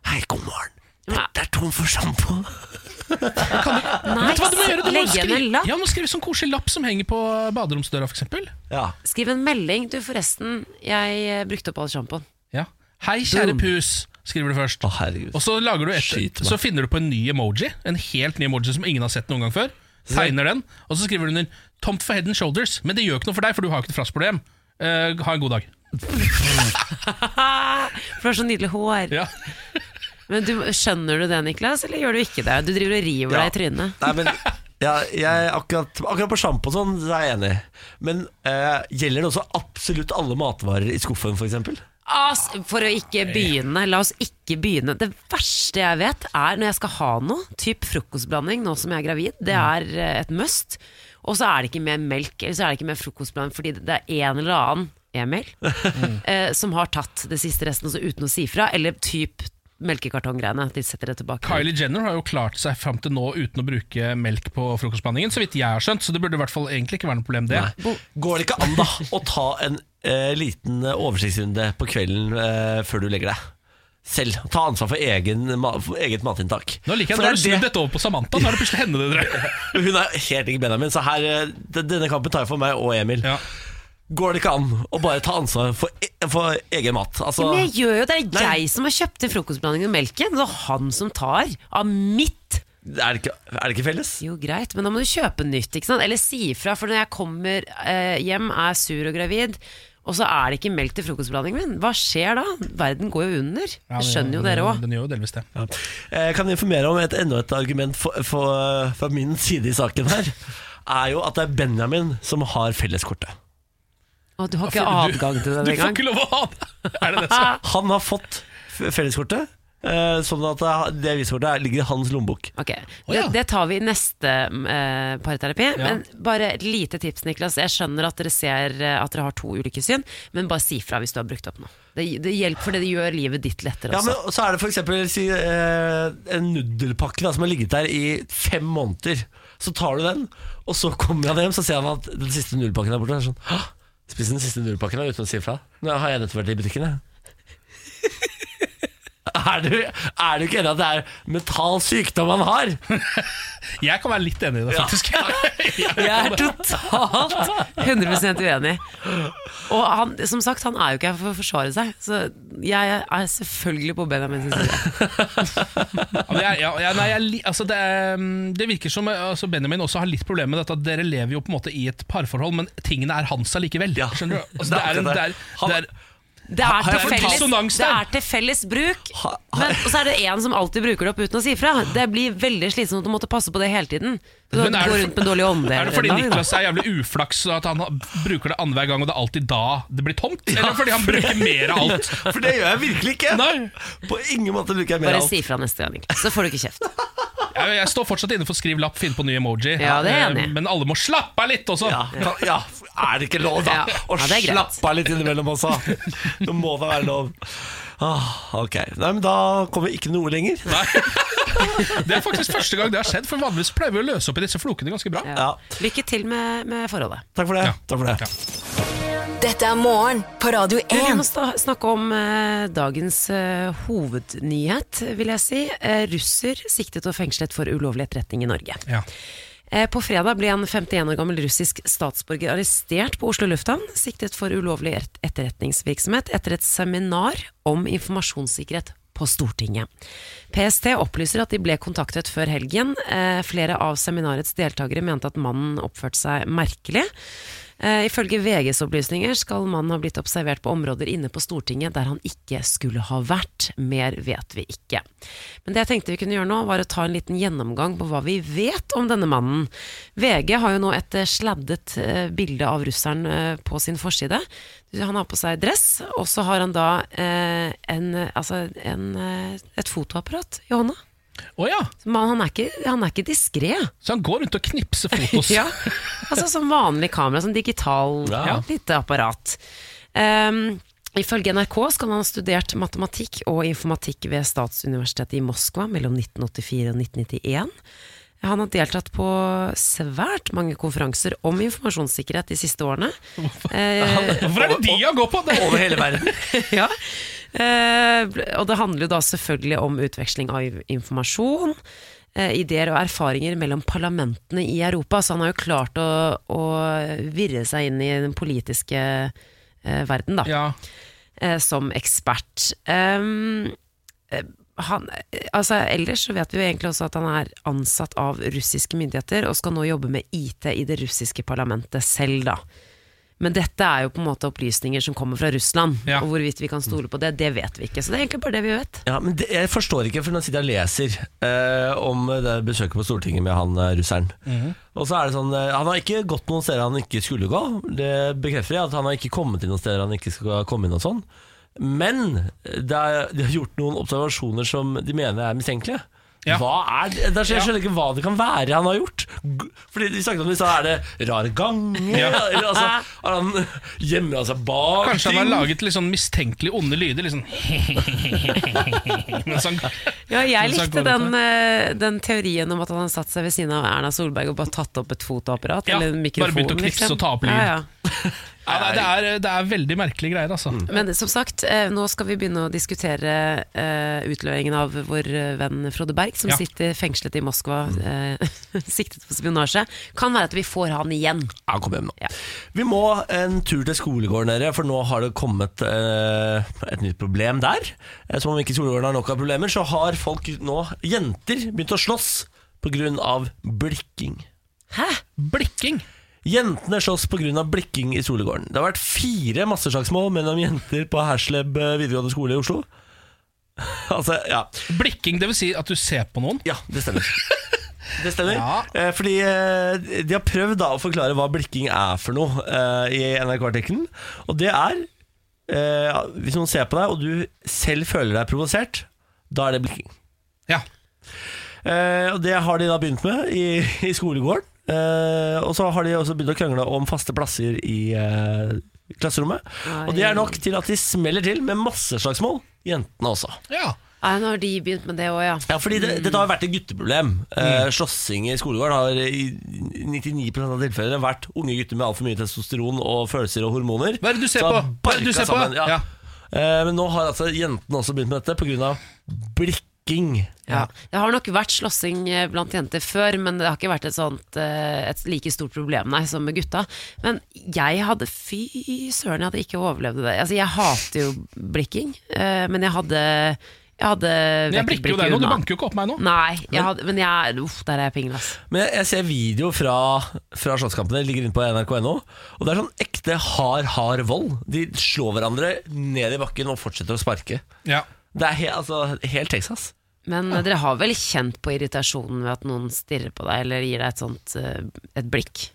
Speaker 1: Hei, god morgen. Det, det er tom for sjampo.
Speaker 3: Vet du hva du må gjøre? Du
Speaker 2: altså,
Speaker 3: må
Speaker 2: legg igjen
Speaker 3: skrive,
Speaker 2: en lapp.
Speaker 3: ja, du må skrive sånn koselig lapp som henger på baderomsdøra, f.eks.
Speaker 1: Ja.
Speaker 2: Skriv en melding. Du, forresten, jeg eh, brukte opp all sjampoen.
Speaker 3: Ja. Hei, kjære pus, skriver du først. og så, lager du et,
Speaker 1: meg.
Speaker 3: så finner du på en ny emoji, en helt ny emoji som ingen har sett noen gang før. Tegner den, og så skriver du under 'Tomt for head and shoulders', men det gjør ikke noe for deg, for du har jo ikke et flassproblem. Eh, ha en god dag.
Speaker 2: Ah, For du har så nydelig hår. Men du, skjønner du det, Niklas, eller gjør du ikke det? Du driver og river
Speaker 1: Ja.
Speaker 2: deg i trynet.
Speaker 1: Nei, men ja, jeg, akkurat, akkurat på sjampo og sånn, så er jeg enig. Men eh, gjelder det også absolutt alle matvarer i skuffen, f.eks.?
Speaker 2: As, Ah, for å ikke begynne, la oss ikke begynne. Det verste jeg vet er når jeg skal ha noe, typ frokostblanding nå som jeg er gravid, det er eh, et must. Og så er det ikke mer melk, eller så er det ikke mer frokostblanding fordi det er en eller annen, Emil, eh, som har tatt det siste resten også uten å si fra, eller typ melkekartonggreiene. De setter det tilbake.
Speaker 3: Kylie Jenner har jo klart seg fram til nå uten å bruke melk på frokostblandingen, så vidt jeg har skjønt, så det burde i hvert fall egentlig ikke være noe problem, det.
Speaker 1: Nei. Går det ikke an da å ta en eh, liten oversiktsrunde på kvelden eh, før du legger deg? Selv. Ta ansvar for, egen, ma for eget matinntak.
Speaker 3: Nå liker jeg
Speaker 1: For
Speaker 3: at du har
Speaker 1: det er
Speaker 3: snudd dette over på Samantha. Nå er det plutselig henne det dreier seg om.
Speaker 1: det- Hun er helt ikke Benjamin, så her, eh, d- denne kampen tar jeg for meg og Emil. Går det ikke an å bare ta ansvar for, e for egen mat? Altså,
Speaker 2: Men jeg gjør jo det, det er jeg som har kjøpt inn frokostblandingen og melken, det er han som tar av mitt.
Speaker 1: er, det ikke, er det ikke felles?
Speaker 2: Jo, greit, men da må du kjøpe nytt, ikke sant? Eller si ifra, for når jeg kommer eh, hjem, er sur og gravid, og så er det ikke melk til frokostblandingen min. Hva skjer da? Verden går jo under. Det skjønner jo dere òg.
Speaker 3: Den gjør jo delvis det.
Speaker 1: Ja. Jeg Eh, kan informere om et, enda et argument for, for, fra min side i saken her. Er jo at det er Benjamin som har felleskortet.
Speaker 2: Du har ikke
Speaker 1: Ja, for du-
Speaker 2: adgang til den
Speaker 1: du får
Speaker 2: engang.
Speaker 1: ikke lov å
Speaker 3: ha det!
Speaker 1: Han har fått f- felleskortet. eh, sånn at det- det visekortet er- ligger i hans lommebok.
Speaker 2: Ok. det, det tar vi i neste eh, parterapi. Men bare et lite tips, Niklas. Jeg skjønner at dere ser eh, at dere har to ulike syn, men bare si fra hvis du har brukt opp noe. Det, det hjelper, for det gjør livet ditt lettere
Speaker 1: Ja,
Speaker 2: også.
Speaker 1: men Så er det f.eks. Si, eh, en nudelpakke da, som har ligget der i fem måneder. Så tar du den, og så kommer han hjem Så ser han at den siste nudelpakken er borte. Og er sånn, «Hå! Spis den siste nudelpakken da, uten å si ifra. Nå har jeg nettopp vært i butikken, jeg. Er du, er du ikke enig at det er mental sykdom han har?
Speaker 3: Jeg kan være litt enig i det, faktisk.
Speaker 2: Jeg er totalt 100 uenig. Og han, som sagt, han er jo ikke her for å forsvare seg, så jeg er selvfølgelig på Benjamin sin side.
Speaker 3: Ja, men jeg, ja, ja, nei, jeg, li- altså det, er, mm, det virker som eh, altså Benjamin også har litt problemer med dette. At dere lever jo på en måte i et parforhold, men tingene er hans allikevel. Skjønner du? Altså, det er en, det er, det er,
Speaker 2: Det er,
Speaker 3: Har jeg
Speaker 2: til
Speaker 3: fått
Speaker 2: felles,
Speaker 3: dissonans
Speaker 2: det
Speaker 3: der?
Speaker 2: er til felles bruk, men, og så er det én som alltid bruker det opp uten å si fra. Det blir veldig slitsomt å måtte passe på det hele tiden. Du
Speaker 3: Men
Speaker 2: går rundt med dårlig ånde.
Speaker 3: er det fordi
Speaker 2: hele dagen, da.
Speaker 3: Niklas er jævlig uflaks så at han har- bruker det annenhver gang, og det er alltid da det blir tomt? Eller fordi han bruker mer av alt?
Speaker 1: For det gjør jeg virkelig ikke! På ingen måte bruker jeg mer
Speaker 2: Bare
Speaker 1: av alt.
Speaker 2: si fra neste gang, Niklas, så får du ikke kjeft.
Speaker 3: Jeg, jeg står fortsatt inne for skriv lapp, finn på ny emoji.
Speaker 2: Ja, det er jeg
Speaker 3: Eh,
Speaker 2: enig i.
Speaker 3: Men alle må slappe av litt også!
Speaker 1: Ja, ja, er det ikke lov, da?
Speaker 3: Ja.
Speaker 1: Å
Speaker 3: Ja, det er greit.
Speaker 1: slappe av litt innimellom også. Nå må det være lov. Ah, ok, Nei, men Da kommer vi ikke noe lenger.
Speaker 3: Det er faktisk første gang det har skjedd, for vanligvis pleier vi å løse opp i disse flokene ganske bra.
Speaker 2: Lykke til med, med forholdet.
Speaker 1: Takk for det. Takk for det.
Speaker 5: Dette er Morgen på Radio
Speaker 2: Du, Vi må
Speaker 5: 1.
Speaker 2: sta- snakke om eh, dagens eh, hovednyhet, vil jeg si. Eh, russer siktet og fengslet for ulovlig etterretning i Norge. Eh, På fredag ble en 51 år gammel russisk statsborger arrestert på Oslo lufthavn, siktet for ulovlig et- etterretningsvirksomhet etter et seminar om informasjonssikkerhet på Stortinget. PST opplyser at de ble kontaktet før helgen. Eh, Flere av seminarets deltakere mente at mannen oppførte seg merkelig. Eh, Ifølge VGs opplysninger skal mannen ha blitt observert på områder inne på Stortinget der han ikke skulle ha vært. Mer vet vi ikke. Men det jeg tenkte vi kunne gjøre nå, var å ta en liten gjennomgang på hva vi vet om denne mannen. VG har jo nå et eh, sladdet eh, bilde av russeren eh, på sin forside. Han har på seg dress, og så har han da eh, en, eh, altså en, eh, et fotoapparat i hånda.
Speaker 3: Å ja.
Speaker 2: Man, han er ikke, han er ikke diskré.
Speaker 3: Så han går rundt og knipser fotos?
Speaker 2: ja. Altså som vanlig kamera, som digital
Speaker 3: Ja.
Speaker 2: lite apparat. Um, Ifølge NRK skal han ha studert matematikk og informatikk ved Statsuniversitetet i Moskva mellom 1984 og 1991. Han har deltatt på svært mange konferanser om informasjonssikkerhet de siste årene. Eh,
Speaker 3: Hvorfor er det de han går på? Det er over
Speaker 1: hele verden.
Speaker 2: ja. Eh, bl- og det handler jo da selvfølgelig om utveksling av i- informasjon, eh, ideer og erfaringer mellom parlamentene i Europa. Så han har jo klart å, å virre seg inn i den politiske eh, verden, da. Eh, som ekspert. Ehm, eh, han, eh, altså, ellers så vet vi jo egentlig også at han er ansatt av russiske myndigheter, og skal nå jobbe med IT i det russiske parlamentet selv, da. Men dette er jo på en måte opplysninger som kommer fra Russland. Og hvorvidt vi kan stole på det, det vet vi ikke. Så det er egentlig bare det vi vet.
Speaker 1: Ja, men det, Jeg forstår ikke, for nå sitter jeg og leser eh, om det besøket på Stortinget med han eh, russeren.
Speaker 3: Mhm.
Speaker 1: Og så er det sånn, eh, Han har ikke gått noen steder han ikke skulle gå. Det bekrefter jeg at han har ikke kommet inn noen steder han ikke skal komme inn. og sånn Men det er, de har gjort noen observasjoner som de mener er mistenkelige. Hva er det? Da skjønner Jeg skjønner ikke hva det kan være han har gjort. G- Fordi Vi snakket om det, så er det rar gang
Speaker 3: Ja.
Speaker 1: Eller altså, Har han altså, gjemmer seg bak
Speaker 3: Kanskje han har
Speaker 1: ting?
Speaker 3: laget litt sånn mistenkelig onde lyder. Litt sånn Mens han-
Speaker 2: Ja, jeg
Speaker 3: mens han
Speaker 2: likte
Speaker 3: går rundt
Speaker 2: den, eh, den teorien om at han hadde satt seg ved siden av Erna Solberg og bare tatt opp et fotoapparat
Speaker 3: Ja,
Speaker 2: eller en
Speaker 3: bare
Speaker 2: mikrofon.
Speaker 3: begynt å knipse og ta opp lyd.
Speaker 2: Ja, ja.
Speaker 3: Ja, nei, det, er, det er veldig merkelige greier, altså.
Speaker 2: Men som sagt, eh, nå skal vi begynne å diskutere eh, utleveringen av vår eh, venn Frode Berg, som
Speaker 3: Ja.
Speaker 2: sitter fengslet i Moskva, eh, siktet for spionasje. Kan være at vi får han igjen.
Speaker 1: Ja, kom hjem nå. Vi må en tur til skolegården, dere, for nå har det kommet eh, et nytt problem der. Eh, Som om ikke skolegården har nok av problemer, så har folk nå, jenter, begynt å slåss pga. blikking.
Speaker 2: Hæ?
Speaker 3: Blikking?
Speaker 1: Jentene slåss pga. blikking i skolegården. Det har vært fire masseslagsmål mellom jenter på Hersleb eh, videregående skole i Oslo. altså, ja.
Speaker 3: Blikking, det vil si at du ser på noen?
Speaker 1: Ja, det stemmer. Det stemmer. Eh, Fordi eh, de har prøvd da å forklare hva blikking er for noe eh, i NRK-artikkelen. Og det er eh, Hvis noen ser på deg og du selv føler deg provosert, Da er det blikking.
Speaker 3: Ja.
Speaker 1: Eh, og det har de da begynt med i, i skolegården. Eh, og så har de også begynt å krangle om faste plasser i eh, klasserommet. Og det er nok til at de smeller til med masseslagsmål, jentene også.
Speaker 3: Ja.
Speaker 2: Nei, nå har de begynt med det òg, ja.
Speaker 1: Ja, fordi det, Dette har vært et gutteproblem. Eh,
Speaker 3: Mm.
Speaker 1: slåssing i skolegården har i 99 av tilfellene vært unge gutter med altfor mye testosteron og følelser og hormoner.
Speaker 3: Hva er det du ser
Speaker 1: som har
Speaker 3: på? Hva er det du
Speaker 1: barka
Speaker 3: ser på?
Speaker 1: sammen, Ja.
Speaker 3: Ja.
Speaker 1: Eh, men nå har altså jentene også begynt med dette pga. blikking.
Speaker 2: Ja. Det har nok vært slåssing eh, blant jenter før, men det har ikke vært et, sånt, eh, et like stort problem nei, som med gutta. Men jeg hadde Fy søren, jeg hadde ikke overlevd det. Altså, jeg hater jo blikking, eh, men jeg hadde jeg hadde
Speaker 3: Men jeg blikker jo deg nå, du banker jo ikke opp meg nå.
Speaker 2: Nei, jeg hadde, men jeg Uff, der er jeg pingel, ass.
Speaker 1: Men jeg, jeg ser video fra, fra slåsskampene, det ligger inne på nrk.no. Og det er sånn ekte hard, hard vold. De slår hverandre ned i bakken og fortsetter å sparke.
Speaker 3: Ja.
Speaker 1: Det er he, altså, helt Texas.
Speaker 2: Men eh, dere har vel kjent på irritasjonen ved at noen stirrer på deg eller gir deg et sånt eh, et blikk?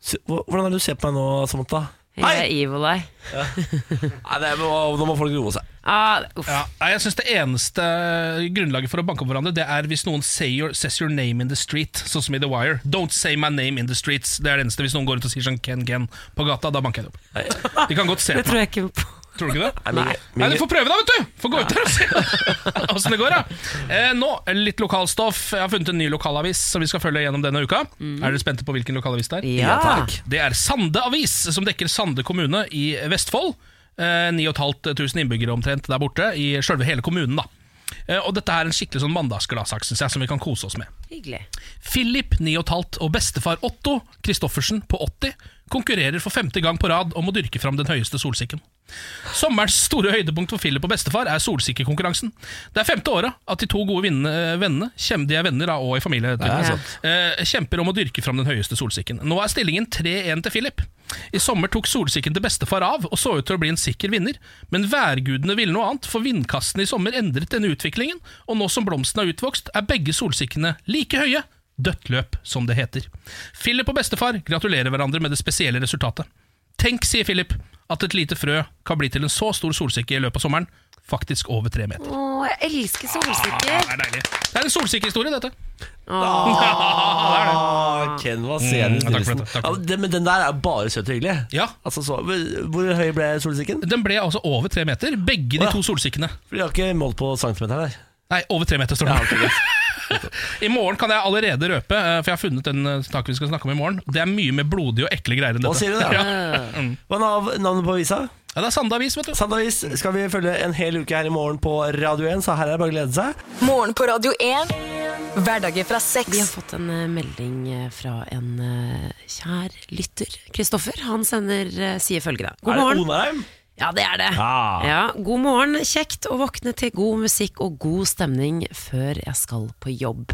Speaker 1: Så, hva- Hvordan er det du ser på meg nå, Samantha?
Speaker 2: Jeg er evil eye.
Speaker 1: Nei, det er, nå må folk roe seg.
Speaker 2: Ah, uff.
Speaker 3: Ja, nei, jeg synes Det eneste grunnlaget for å banke opp hverandre Det er hvis noen say your, says your name in the street, sånn som i The Wire. Don't say my name in the streets. Det er det eneste Hvis noen går ut og sier sånn Ken Ken på gata, da banker jeg det opp. De kan godt se
Speaker 2: Det
Speaker 3: på
Speaker 2: tror
Speaker 3: meg.
Speaker 2: jeg ikke på.
Speaker 3: Tror du ikke det?
Speaker 1: Nei.
Speaker 3: Nei, Du får prøve, da, vet du! Får gå ut der og se åssen det går. da eh, Nå, litt lokalstoff. Jeg har funnet en ny lokalavis som vi skal følge gjennom denne uka. Er dere spente på hvilken lokalavis det er?
Speaker 2: Ja. Ja, takk.
Speaker 3: Det er Sande Avis, som dekker Sande kommune i Vestfold. Eh, 9500 innbyggere omtrent der borte, i sjølve hele kommunen. da Eh, Og dette er en skikkelig sånn mandagsgladsak synes jeg, som vi kan kose oss med.
Speaker 2: Hyggelig.
Speaker 3: Philip, 9,5 og bestefar Otto Kristoffersen på 80 konkurrerer for femte gang på rad om å dyrke fram den høyeste solsikken. Sommerens store høydepunkt for Philip og bestefar er solsikkekonkurransen. Det er femte året at de to gode vinnende- vennene kjem- de er venner da, og i familie,
Speaker 1: er
Speaker 3: tydeligvis, eh, kjemper om å dyrke fram den høyeste solsikken. Nå er stillingen 3-1 til Philip. I sommer tok solsikken til bestefar av og så ut til å bli en sikker vinner, men værgudene ville noe annet, for vindkastene i sommer endret denne utviklingen, og nå som blomsten er utvokst, er begge solsikkene like høye. Dødt løp, som det heter. Philip og bestefar gratulerer hverandre med det spesielle resultatet. Tenk, sier Philip, at et lite frø kan bli til en så stor solsikke i løpet av sommeren, faktisk over tre meter.
Speaker 2: Å, jeg elsker
Speaker 3: Ja,
Speaker 2: solsikker.
Speaker 3: det er deilig. Det er en solsikkehistorie, dette.
Speaker 1: Ah, Ken var sen i
Speaker 3: Mm, takk for
Speaker 1: begynnelsen.
Speaker 3: dette, takk
Speaker 1: Ja,
Speaker 3: for
Speaker 1: det- men den der er bare søt og hyggelig.
Speaker 3: Ja.
Speaker 1: Altså, så, hvor høy ble solsikken?
Speaker 3: Den ble altså over tre meter, begge de to solsikkene.
Speaker 1: For De har ikke målt på centimeter her.
Speaker 3: Nei, over tre meter står det. I morgen kan jeg allerede røpe, eh, for jeg har funnet den eh, saken vi skal snakke om i morgen. Det er mye mer blodige og ekle greier enn
Speaker 1: Nå
Speaker 3: dette.
Speaker 1: sier du det,
Speaker 3: Ja.
Speaker 1: ja. Hva er nav- navnet på avisa?
Speaker 3: Ja, det er Sande Avis, vet du.
Speaker 1: Sande Avis skal vi følge en hel uke her i morgen på Radio 1, så her er det bare å glede seg.
Speaker 5: Morgen på Radio 1. Hverdager
Speaker 2: Vi
Speaker 5: fra
Speaker 2: har
Speaker 5: seks.
Speaker 2: fått en eh, melding eh, fra en eh, kjær lytter. Kristoffer han sender, eh, sier følgende.
Speaker 1: er
Speaker 2: God
Speaker 1: det
Speaker 2: morgen.
Speaker 1: Onarheim?
Speaker 2: Ja, det er det.
Speaker 1: Ah.
Speaker 2: Ja, god morgen. Kjekt å våkne til god musikk og god stemning før jeg skal på jobb.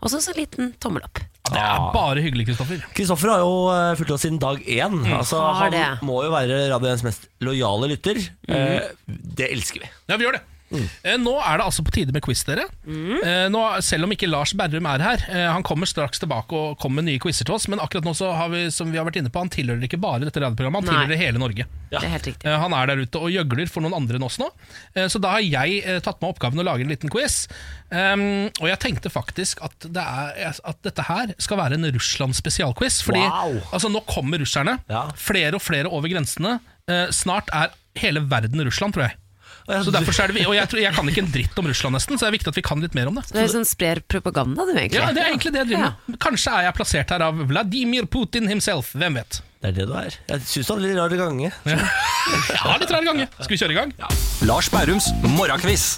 Speaker 2: Og så en liten tommel opp.
Speaker 3: Det
Speaker 1: Ah.
Speaker 3: er bare hyggelig, Kristoffer.
Speaker 1: Kristoffer har jo eh, fulgt oss siden dag én. Altså,
Speaker 2: Mm. Har
Speaker 1: han
Speaker 2: det. Mm.
Speaker 1: må jo være Radio 1s mest lojale lytter. Eh, det elsker vi.
Speaker 3: Ja, vi gjør det.
Speaker 1: Mm.
Speaker 3: Eh, Nå er det altså på tide med quiz, dere. Eh, Nå, selv om ikke Lars Berrum er her, eh, han kommer straks tilbake og kommer med nye quizer til oss, men akkurat nå så har vi, som vi har vært inne på, han tilhører ikke bare dette radioprogrammet, han
Speaker 2: Nei.
Speaker 3: tilhører hele Norge.
Speaker 2: Det er helt riktig.
Speaker 3: Eh, Han er der ute og gjøgler for noen andre enn oss nå. Eh, Så da har jeg eh, tatt meg oppgaven å lage en liten quiz. Um, og jeg tenkte faktisk at, det er, at dette her skal være en Russland-spesialquiz. Fordi
Speaker 1: Wow.
Speaker 3: altså, nå kommer russerne.
Speaker 1: Ja.
Speaker 3: Flere og flere over grensene. Eh, snart er hele verden Russland, tror jeg. Så derfor så er det vi, Og jeg, tror, jeg kan ikke en dritt om Russland, nesten, så det er viktig at vi kan litt mer om det.
Speaker 2: Så det er sånn sprer propaganda, du, egentlig.
Speaker 3: Ja, Det er egentlig det jeg driver med. Kanskje er jeg plassert her av Vladimir Putin himself. Hvem vet?
Speaker 1: Det er det du er. Jeg syns du har litt rar gange.
Speaker 3: Jeg har litt rar gange. Skal vi kjøre i gang?
Speaker 16: Lars Bærums morgenkviss.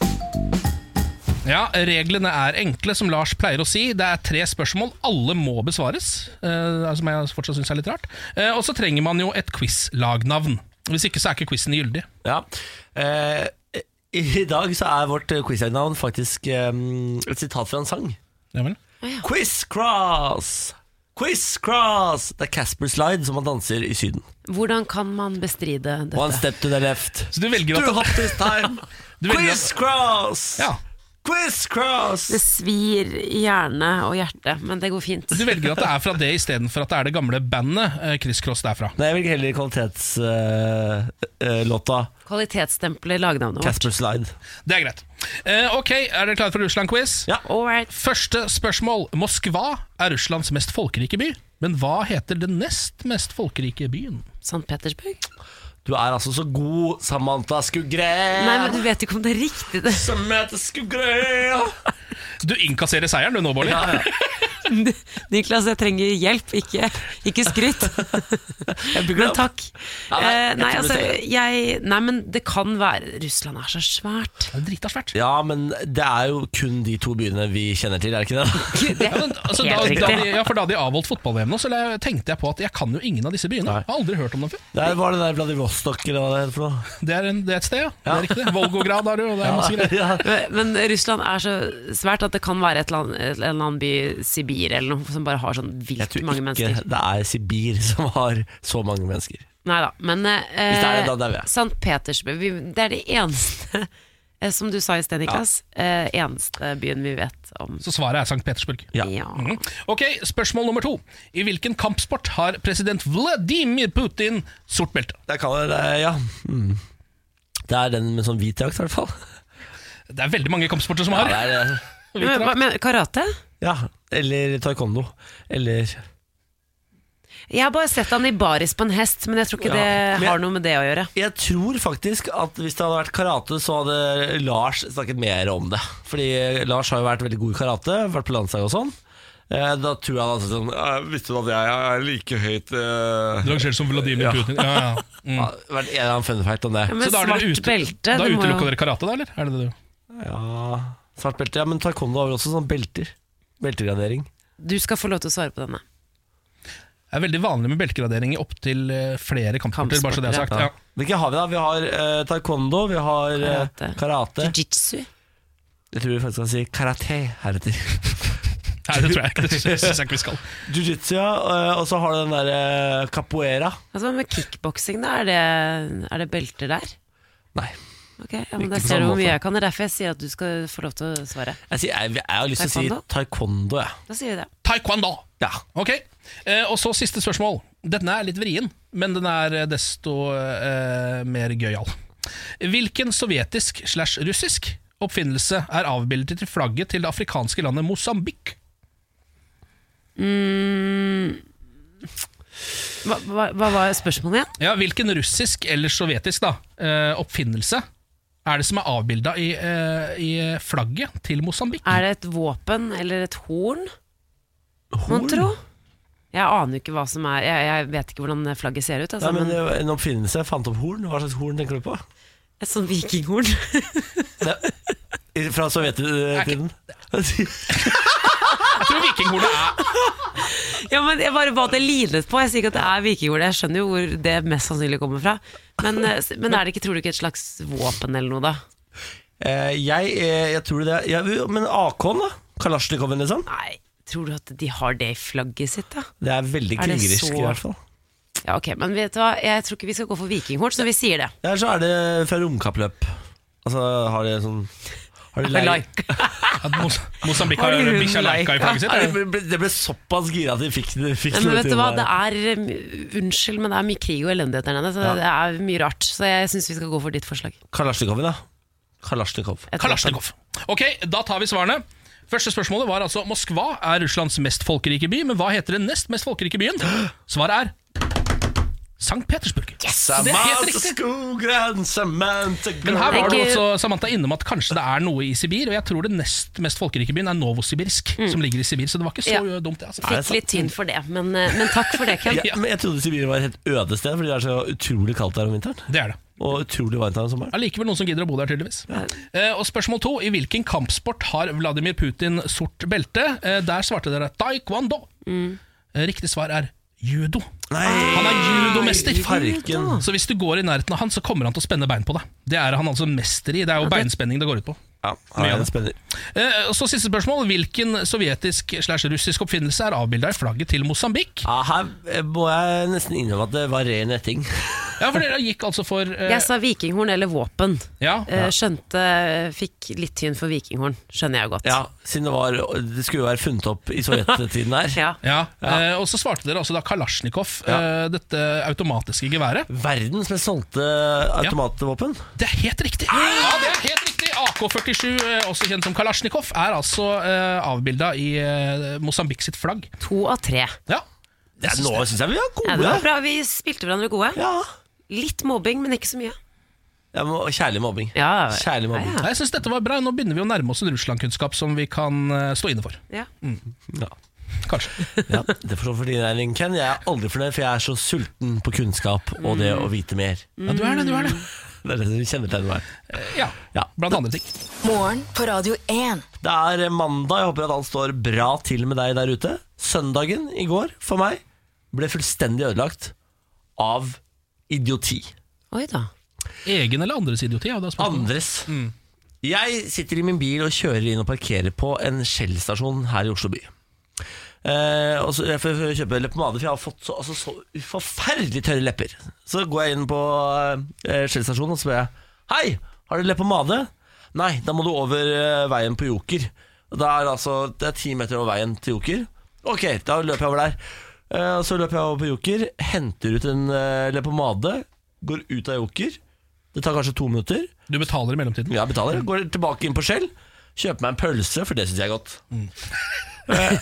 Speaker 3: Ja, Reglene er enkle, som Lars pleier å si. Det er tre spørsmål. Alle må besvares. eh, som jeg fortsatt syns er litt rart. Eh, og så trenger man jo et quiz-lagnavn. Hvis ikke så er ikke quizen gyldig.
Speaker 1: Ja. Eh, I dag så er vårt quiz-navn faktisk eh, et sitat fra en sang.
Speaker 3: Ja vel?
Speaker 1: Quiz-cross! Quiz-cross! Det er Casper Slide som han danser i Syden.
Speaker 2: Hvordan kan man bestride
Speaker 1: One
Speaker 2: dette?
Speaker 1: step to the left.
Speaker 3: Så du velger
Speaker 1: Two
Speaker 3: at
Speaker 1: hop this time.
Speaker 3: Du velger at-
Speaker 1: Quiz-cross!
Speaker 3: Ja.
Speaker 1: Quiz-cross!
Speaker 2: Det svir i hjerne og hjerte, men det går fint.
Speaker 3: Du velger at det er fra det istedenfor at det er det gamle bandet eh, Criss Cross derfra.
Speaker 1: Nei, jeg velger heller kvalitetslåta.
Speaker 2: Kvalitetsstempler lagnavnet vårt.
Speaker 1: eh, Casper Slide.
Speaker 3: Det er greit. Eh, ok, Er dere klare for Russland-quiz?
Speaker 1: Ja.
Speaker 3: Første spørsmål. Moskva er Russlands mest folkerike by. Men hva heter den nest mest folkerike byen?
Speaker 2: St. Petersburg.
Speaker 1: Du er altså så god, Samantha Skugre.
Speaker 2: Nei, men du vet ikke om det er riktig. Det.
Speaker 1: Samantha Skugre.
Speaker 3: Du innkasserer seieren du nå, Bårli.
Speaker 2: Niklas, jeg trenger hjelp, ikke, ikke skryt. men takk.
Speaker 1: Ja, nei,
Speaker 2: Eh,
Speaker 1: jeg tror
Speaker 2: nei,
Speaker 1: du
Speaker 2: altså,
Speaker 1: ser det.
Speaker 2: jeg, nei, men det kan være Russland er så svært.
Speaker 3: Det er drita svært.
Speaker 1: Ja, men det er jo kun de to byene vi kjenner til, er det ikke det?
Speaker 3: Altså, da, da, de, ja, for da de avholdt fotball-VM nå, så le- tenkte jeg på at jeg kan jo ingen av disse byene. Jeg har aldri hørt om dem før.
Speaker 1: Der var det der Vladivostok, eller hva det heter for noe.
Speaker 3: Det er, en, det er et sted, ja. Det er riktig. Volgograd har du, og det er masse greier.
Speaker 2: Men Russland er så svært at det kan være et land, en eller annen by, Sibir eller noe, som bare har sånn vilt mange mennesker.
Speaker 1: Ikke, det er Sibir som har så mange mennesker.
Speaker 2: Nei da, men
Speaker 1: Hvis det er det,
Speaker 2: eh,
Speaker 1: da dauer jeg.
Speaker 2: St. Petersburg vi, Det er det eneste, eh, som du sa i sted, Niklas, eh, eneste byen vi vet om.
Speaker 3: Så svaret er St. Petersburg. Mhm. Ok, Spørsmål nummer to. I hvilken kampsport har president Vladimir Putin sort belte?
Speaker 1: Det kan være, ja. Mm. Det er den med sånn hvit drakt, i hvert fall.
Speaker 3: Det er veldig mange kampsporter som
Speaker 1: Ja,
Speaker 3: har.
Speaker 1: det er det.
Speaker 3: Litt
Speaker 2: Men,
Speaker 3: rart.
Speaker 2: men karate?
Speaker 1: Ja, eller taekwondo. Eller
Speaker 2: Jeg har bare sett han i baris på en hest, men jeg tror ikke
Speaker 1: Ja. Men
Speaker 2: det
Speaker 1: jeg-
Speaker 2: har noe med det å gjøre.
Speaker 1: Jeg tror faktisk at hvis det hadde vært karate, så hadde Lars snakket mer om det. Fordi Lars har jo vært veldig god i karate, vært på landslaget og sånn. Eh, Da tror jeg han hadde sagt sånn «Eh, Visste du at jeg er like høyt eh,
Speaker 3: Rangert som Vladimir
Speaker 1: Ja.
Speaker 3: Putin. Ja, ja. Mm.
Speaker 1: Ja, det Vært en eller annen fun fact om det.
Speaker 2: men
Speaker 3: da er dere
Speaker 2: svart belte,
Speaker 3: Da
Speaker 2: det må jo-
Speaker 3: utelukka dere karate, da? eller? Er det det du?
Speaker 1: Ja, svart belte. Ja, men taekwondo har vel også sånn belter. Beltegradering.
Speaker 2: Du skal få lov til å svare på denne.
Speaker 3: Det er veldig vanlig med beltegradering i opptil eh, flere kampsporter. bare så det er sagt. Ja.
Speaker 1: Hvilke har vi, da? Vi har eh, taekwondo, vi har eh, karate.
Speaker 2: Jiu-jitsu.
Speaker 1: Jeg tror vi faktisk skal si karate heretter.
Speaker 3: Nei, det tror jeg ikke. Det syns jeg ikke vi skal.
Speaker 1: Jiu-jitsu, ja. eh, Og så har du den derre capoeira.
Speaker 2: Altså, med kickboksing, da? Er det, er det belter der?
Speaker 1: Nei.
Speaker 2: Ok, ja, men
Speaker 1: Ikke
Speaker 2: Da
Speaker 1: på
Speaker 2: ser du
Speaker 1: samme
Speaker 2: hvor mye
Speaker 1: måte.
Speaker 2: jeg kan. Det er derfor jeg sier at du skal få lov til å svare.
Speaker 1: Jeg, sier, jeg, jeg har lyst til å si
Speaker 2: Taekwondo?
Speaker 1: taekwondo, jeg.
Speaker 2: Da sier vi det.
Speaker 3: Taekwondo!
Speaker 1: Ja.
Speaker 3: Ok, eh, Og så siste spørsmål. Denne er litt vrien, men den er eh, desto eh, mer gøyal. Hvilken sovjetisk slash russisk oppfinnelse er avbildet i flagget til det afrikanske landet Mosambik?
Speaker 2: Mm. Hva, hva, hva var spørsmålet igjen?
Speaker 3: Ja, Hvilken russisk eller sovjetisk da, eh, oppfinnelse er det som er avbilda i, eh, i flagget til Mosambik?
Speaker 2: Er det et våpen eller et horn? Mon tro? Jeg aner jo ikke hva som er Jeg, jeg vet ikke hvordan flagget ser ut. Altså,
Speaker 1: Nei, men
Speaker 2: men
Speaker 1: det er jo En oppfinnelse. Jeg fant opp horn. Hva slags horn tenker du på?
Speaker 2: et sånn vikinghorn.
Speaker 1: I- Fra sovjettiden?
Speaker 3: Jeg tror vikinghornet er
Speaker 2: ja, men jeg bare ba det linet på. Jeg sier ikke at det er vikinghorn. Jeg skjønner jo hvor det mest sannsynlig kommer fra. Men, eh, s- men er det ikke, tror du ikke et slags våpen eller noe, da?
Speaker 1: Eh, jeg, eh, jeg tror det. Ja, men AK-en, da? Kalasjnikoven, liksom?
Speaker 2: Nei, tror du at de har det i flagget sitt, da?
Speaker 1: Det er veldig
Speaker 2: Er det
Speaker 1: krigerisk,
Speaker 2: så-
Speaker 1: i hvert fall.
Speaker 2: Ja, ok, men vet du hva? Jeg tror ikke vi skal gå for vikinghorn, så vi sier det.
Speaker 1: Eller så er det fra romkappløp. Altså, har de sånn Har de
Speaker 2: Har
Speaker 1: leir-
Speaker 2: like.
Speaker 3: At Mos Mosambik har
Speaker 1: Har de
Speaker 3: bikkja Laika i flagget sitt?
Speaker 1: Ja,
Speaker 3: eller?
Speaker 1: det ble, det ble såpass gira at de fikk, de fikk
Speaker 2: Ja, Men
Speaker 1: det
Speaker 2: vet
Speaker 1: til
Speaker 2: du hva,
Speaker 1: der.
Speaker 2: det er um, Unnskyld, men det er mye krig og elendighet der nede, så
Speaker 1: Ja.
Speaker 2: det er mye rart. Så jeg syns vi skal gå for ditt forslag.
Speaker 1: Kalasjnikov, da. Kalasjnikov.
Speaker 3: Kalasjnikov. Ok, da tar vi svarene. Første spørsmålet var altså Moskva er Russlands mest folkerike by, men hva heter den nest mest folkerike byen? Svaret er St. Petersburg. Det er helt
Speaker 1: Samantha
Speaker 3: riktig.
Speaker 1: Skogran, Samantha
Speaker 3: Men her var
Speaker 1: Graham.
Speaker 3: du også Samantha, innom at kanskje det er noe i Sibir, og jeg tror den nest mest folkerike byen er Novosibirsk, som ligger i Sibir, så det var ikke så
Speaker 2: Ja.
Speaker 3: dumt, det. Altså.
Speaker 2: Fikk litt tynn for det, men, eh, men takk for det, Ken.
Speaker 1: ja, men Jeg trodde Sibir var et helt øde sted, fordi det er så utrolig kaldt der om vinteren.
Speaker 3: Det er det.
Speaker 1: Og utrolig varmt her om sommeren.
Speaker 3: Allikevel noen som gidder å bo der, tydeligvis. Eh, og spørsmål to. I hvilken kampsport har Vladimir Putin sort belte? Eh, der svarte dere taekwondo. Eh, riktig svar er judo. Han er judomester.
Speaker 1: Farken.
Speaker 3: Så hvis du går i nærheten av han, så kommer han til å spenne bein på deg. Det er han altså mester i. Det er jo beinspenning det går ut på.
Speaker 1: Ja,
Speaker 3: Mye av
Speaker 1: han er
Speaker 3: det.
Speaker 1: spennende.
Speaker 3: Eh, og så siste spørsmål. Hvilken sovjetisk slash russisk oppfinnelse er avbilda i flagget til Mosambik?
Speaker 1: eh, Ja, her må jeg nesten innrømme at det var ren etting.
Speaker 3: Ja, for dere gikk altså for eh,
Speaker 2: Jeg sa vikinghorn eller våpen.
Speaker 3: Ja.
Speaker 2: Eh, Skjønte Fikk litt tynn for vikinghorn, skjønner jeg jo godt.
Speaker 1: Ja, siden det, var, det skulle jo være funnet opp i sovjettiden der.
Speaker 2: ja.
Speaker 3: Eh, og så svarte dere altså da Kalasjnikov, eh, dette automatiske geværet.
Speaker 1: Verdens mest solgte automatvåpen.
Speaker 3: Det er helt riktig! Ja, det er helt riktig AK-47, eh, også kjent som Kalasjnikov, er altså eh, avbilda i eh, Mosambik sitt flagg.
Speaker 2: To av tre.
Speaker 3: Ja.
Speaker 1: Det er- nå synes jeg vi er gode.
Speaker 2: Ja, det var bra. Vi spilte hverandre gode. Litt mobbing, men ikke så mye.
Speaker 1: Ja, men Kjærlig mobbing. Kjærlig mobbing.
Speaker 3: Nei, Jeg syns dette var bra. Nå begynner vi å nærme oss en Russland-kunnskap som vi kan eh, stå inne for.
Speaker 2: Ja.
Speaker 3: Mm.
Speaker 1: Ja.
Speaker 3: Kanskje.
Speaker 1: Ja, det forstår for din regning, Ken. Jeg er aldri fornøyd, for jeg er så sulten på kunnskap og det å vite mer.
Speaker 3: Ja, du er det, du er det.
Speaker 1: Det er det som kjennetegner meg.
Speaker 3: Ja, blant andre ting.
Speaker 5: Morgen på Radio 1.
Speaker 1: Det er mandag. Jeg håper at alt står bra til med deg der ute. Søndagen i går, for meg, ble fullstendig ødelagt av idioti.
Speaker 2: Oi da.
Speaker 3: Egen eller andres idioti? Ja, det er spørsmålet.
Speaker 1: Andres. Jeg sitter i min bil og kjører inn og parkerer på en Shell-stasjon her i Oslo by. Eh, og så jeg får jeg kjøpe leppepomade, for jeg har fått så, altså, så forferdelig tørre lepper. Så går jeg inn på eh, Shell-stasjonen og spør jeg Hei, har du leppepomade? Nei, da må du over eh, veien på Joker. Og da er det altså, det er ti meter over veien til Joker. Ok, da løper jeg over der. Eh, og så løper jeg over på Joker, henter ut en eh, leppepomade, går ut av Joker. Det tar kanskje to minutter.
Speaker 3: Du betaler i mellomtiden?
Speaker 1: Ja, jeg betaler. Går tilbake inn på Shell, kjøper meg en pølse, for det syns jeg er godt. eh,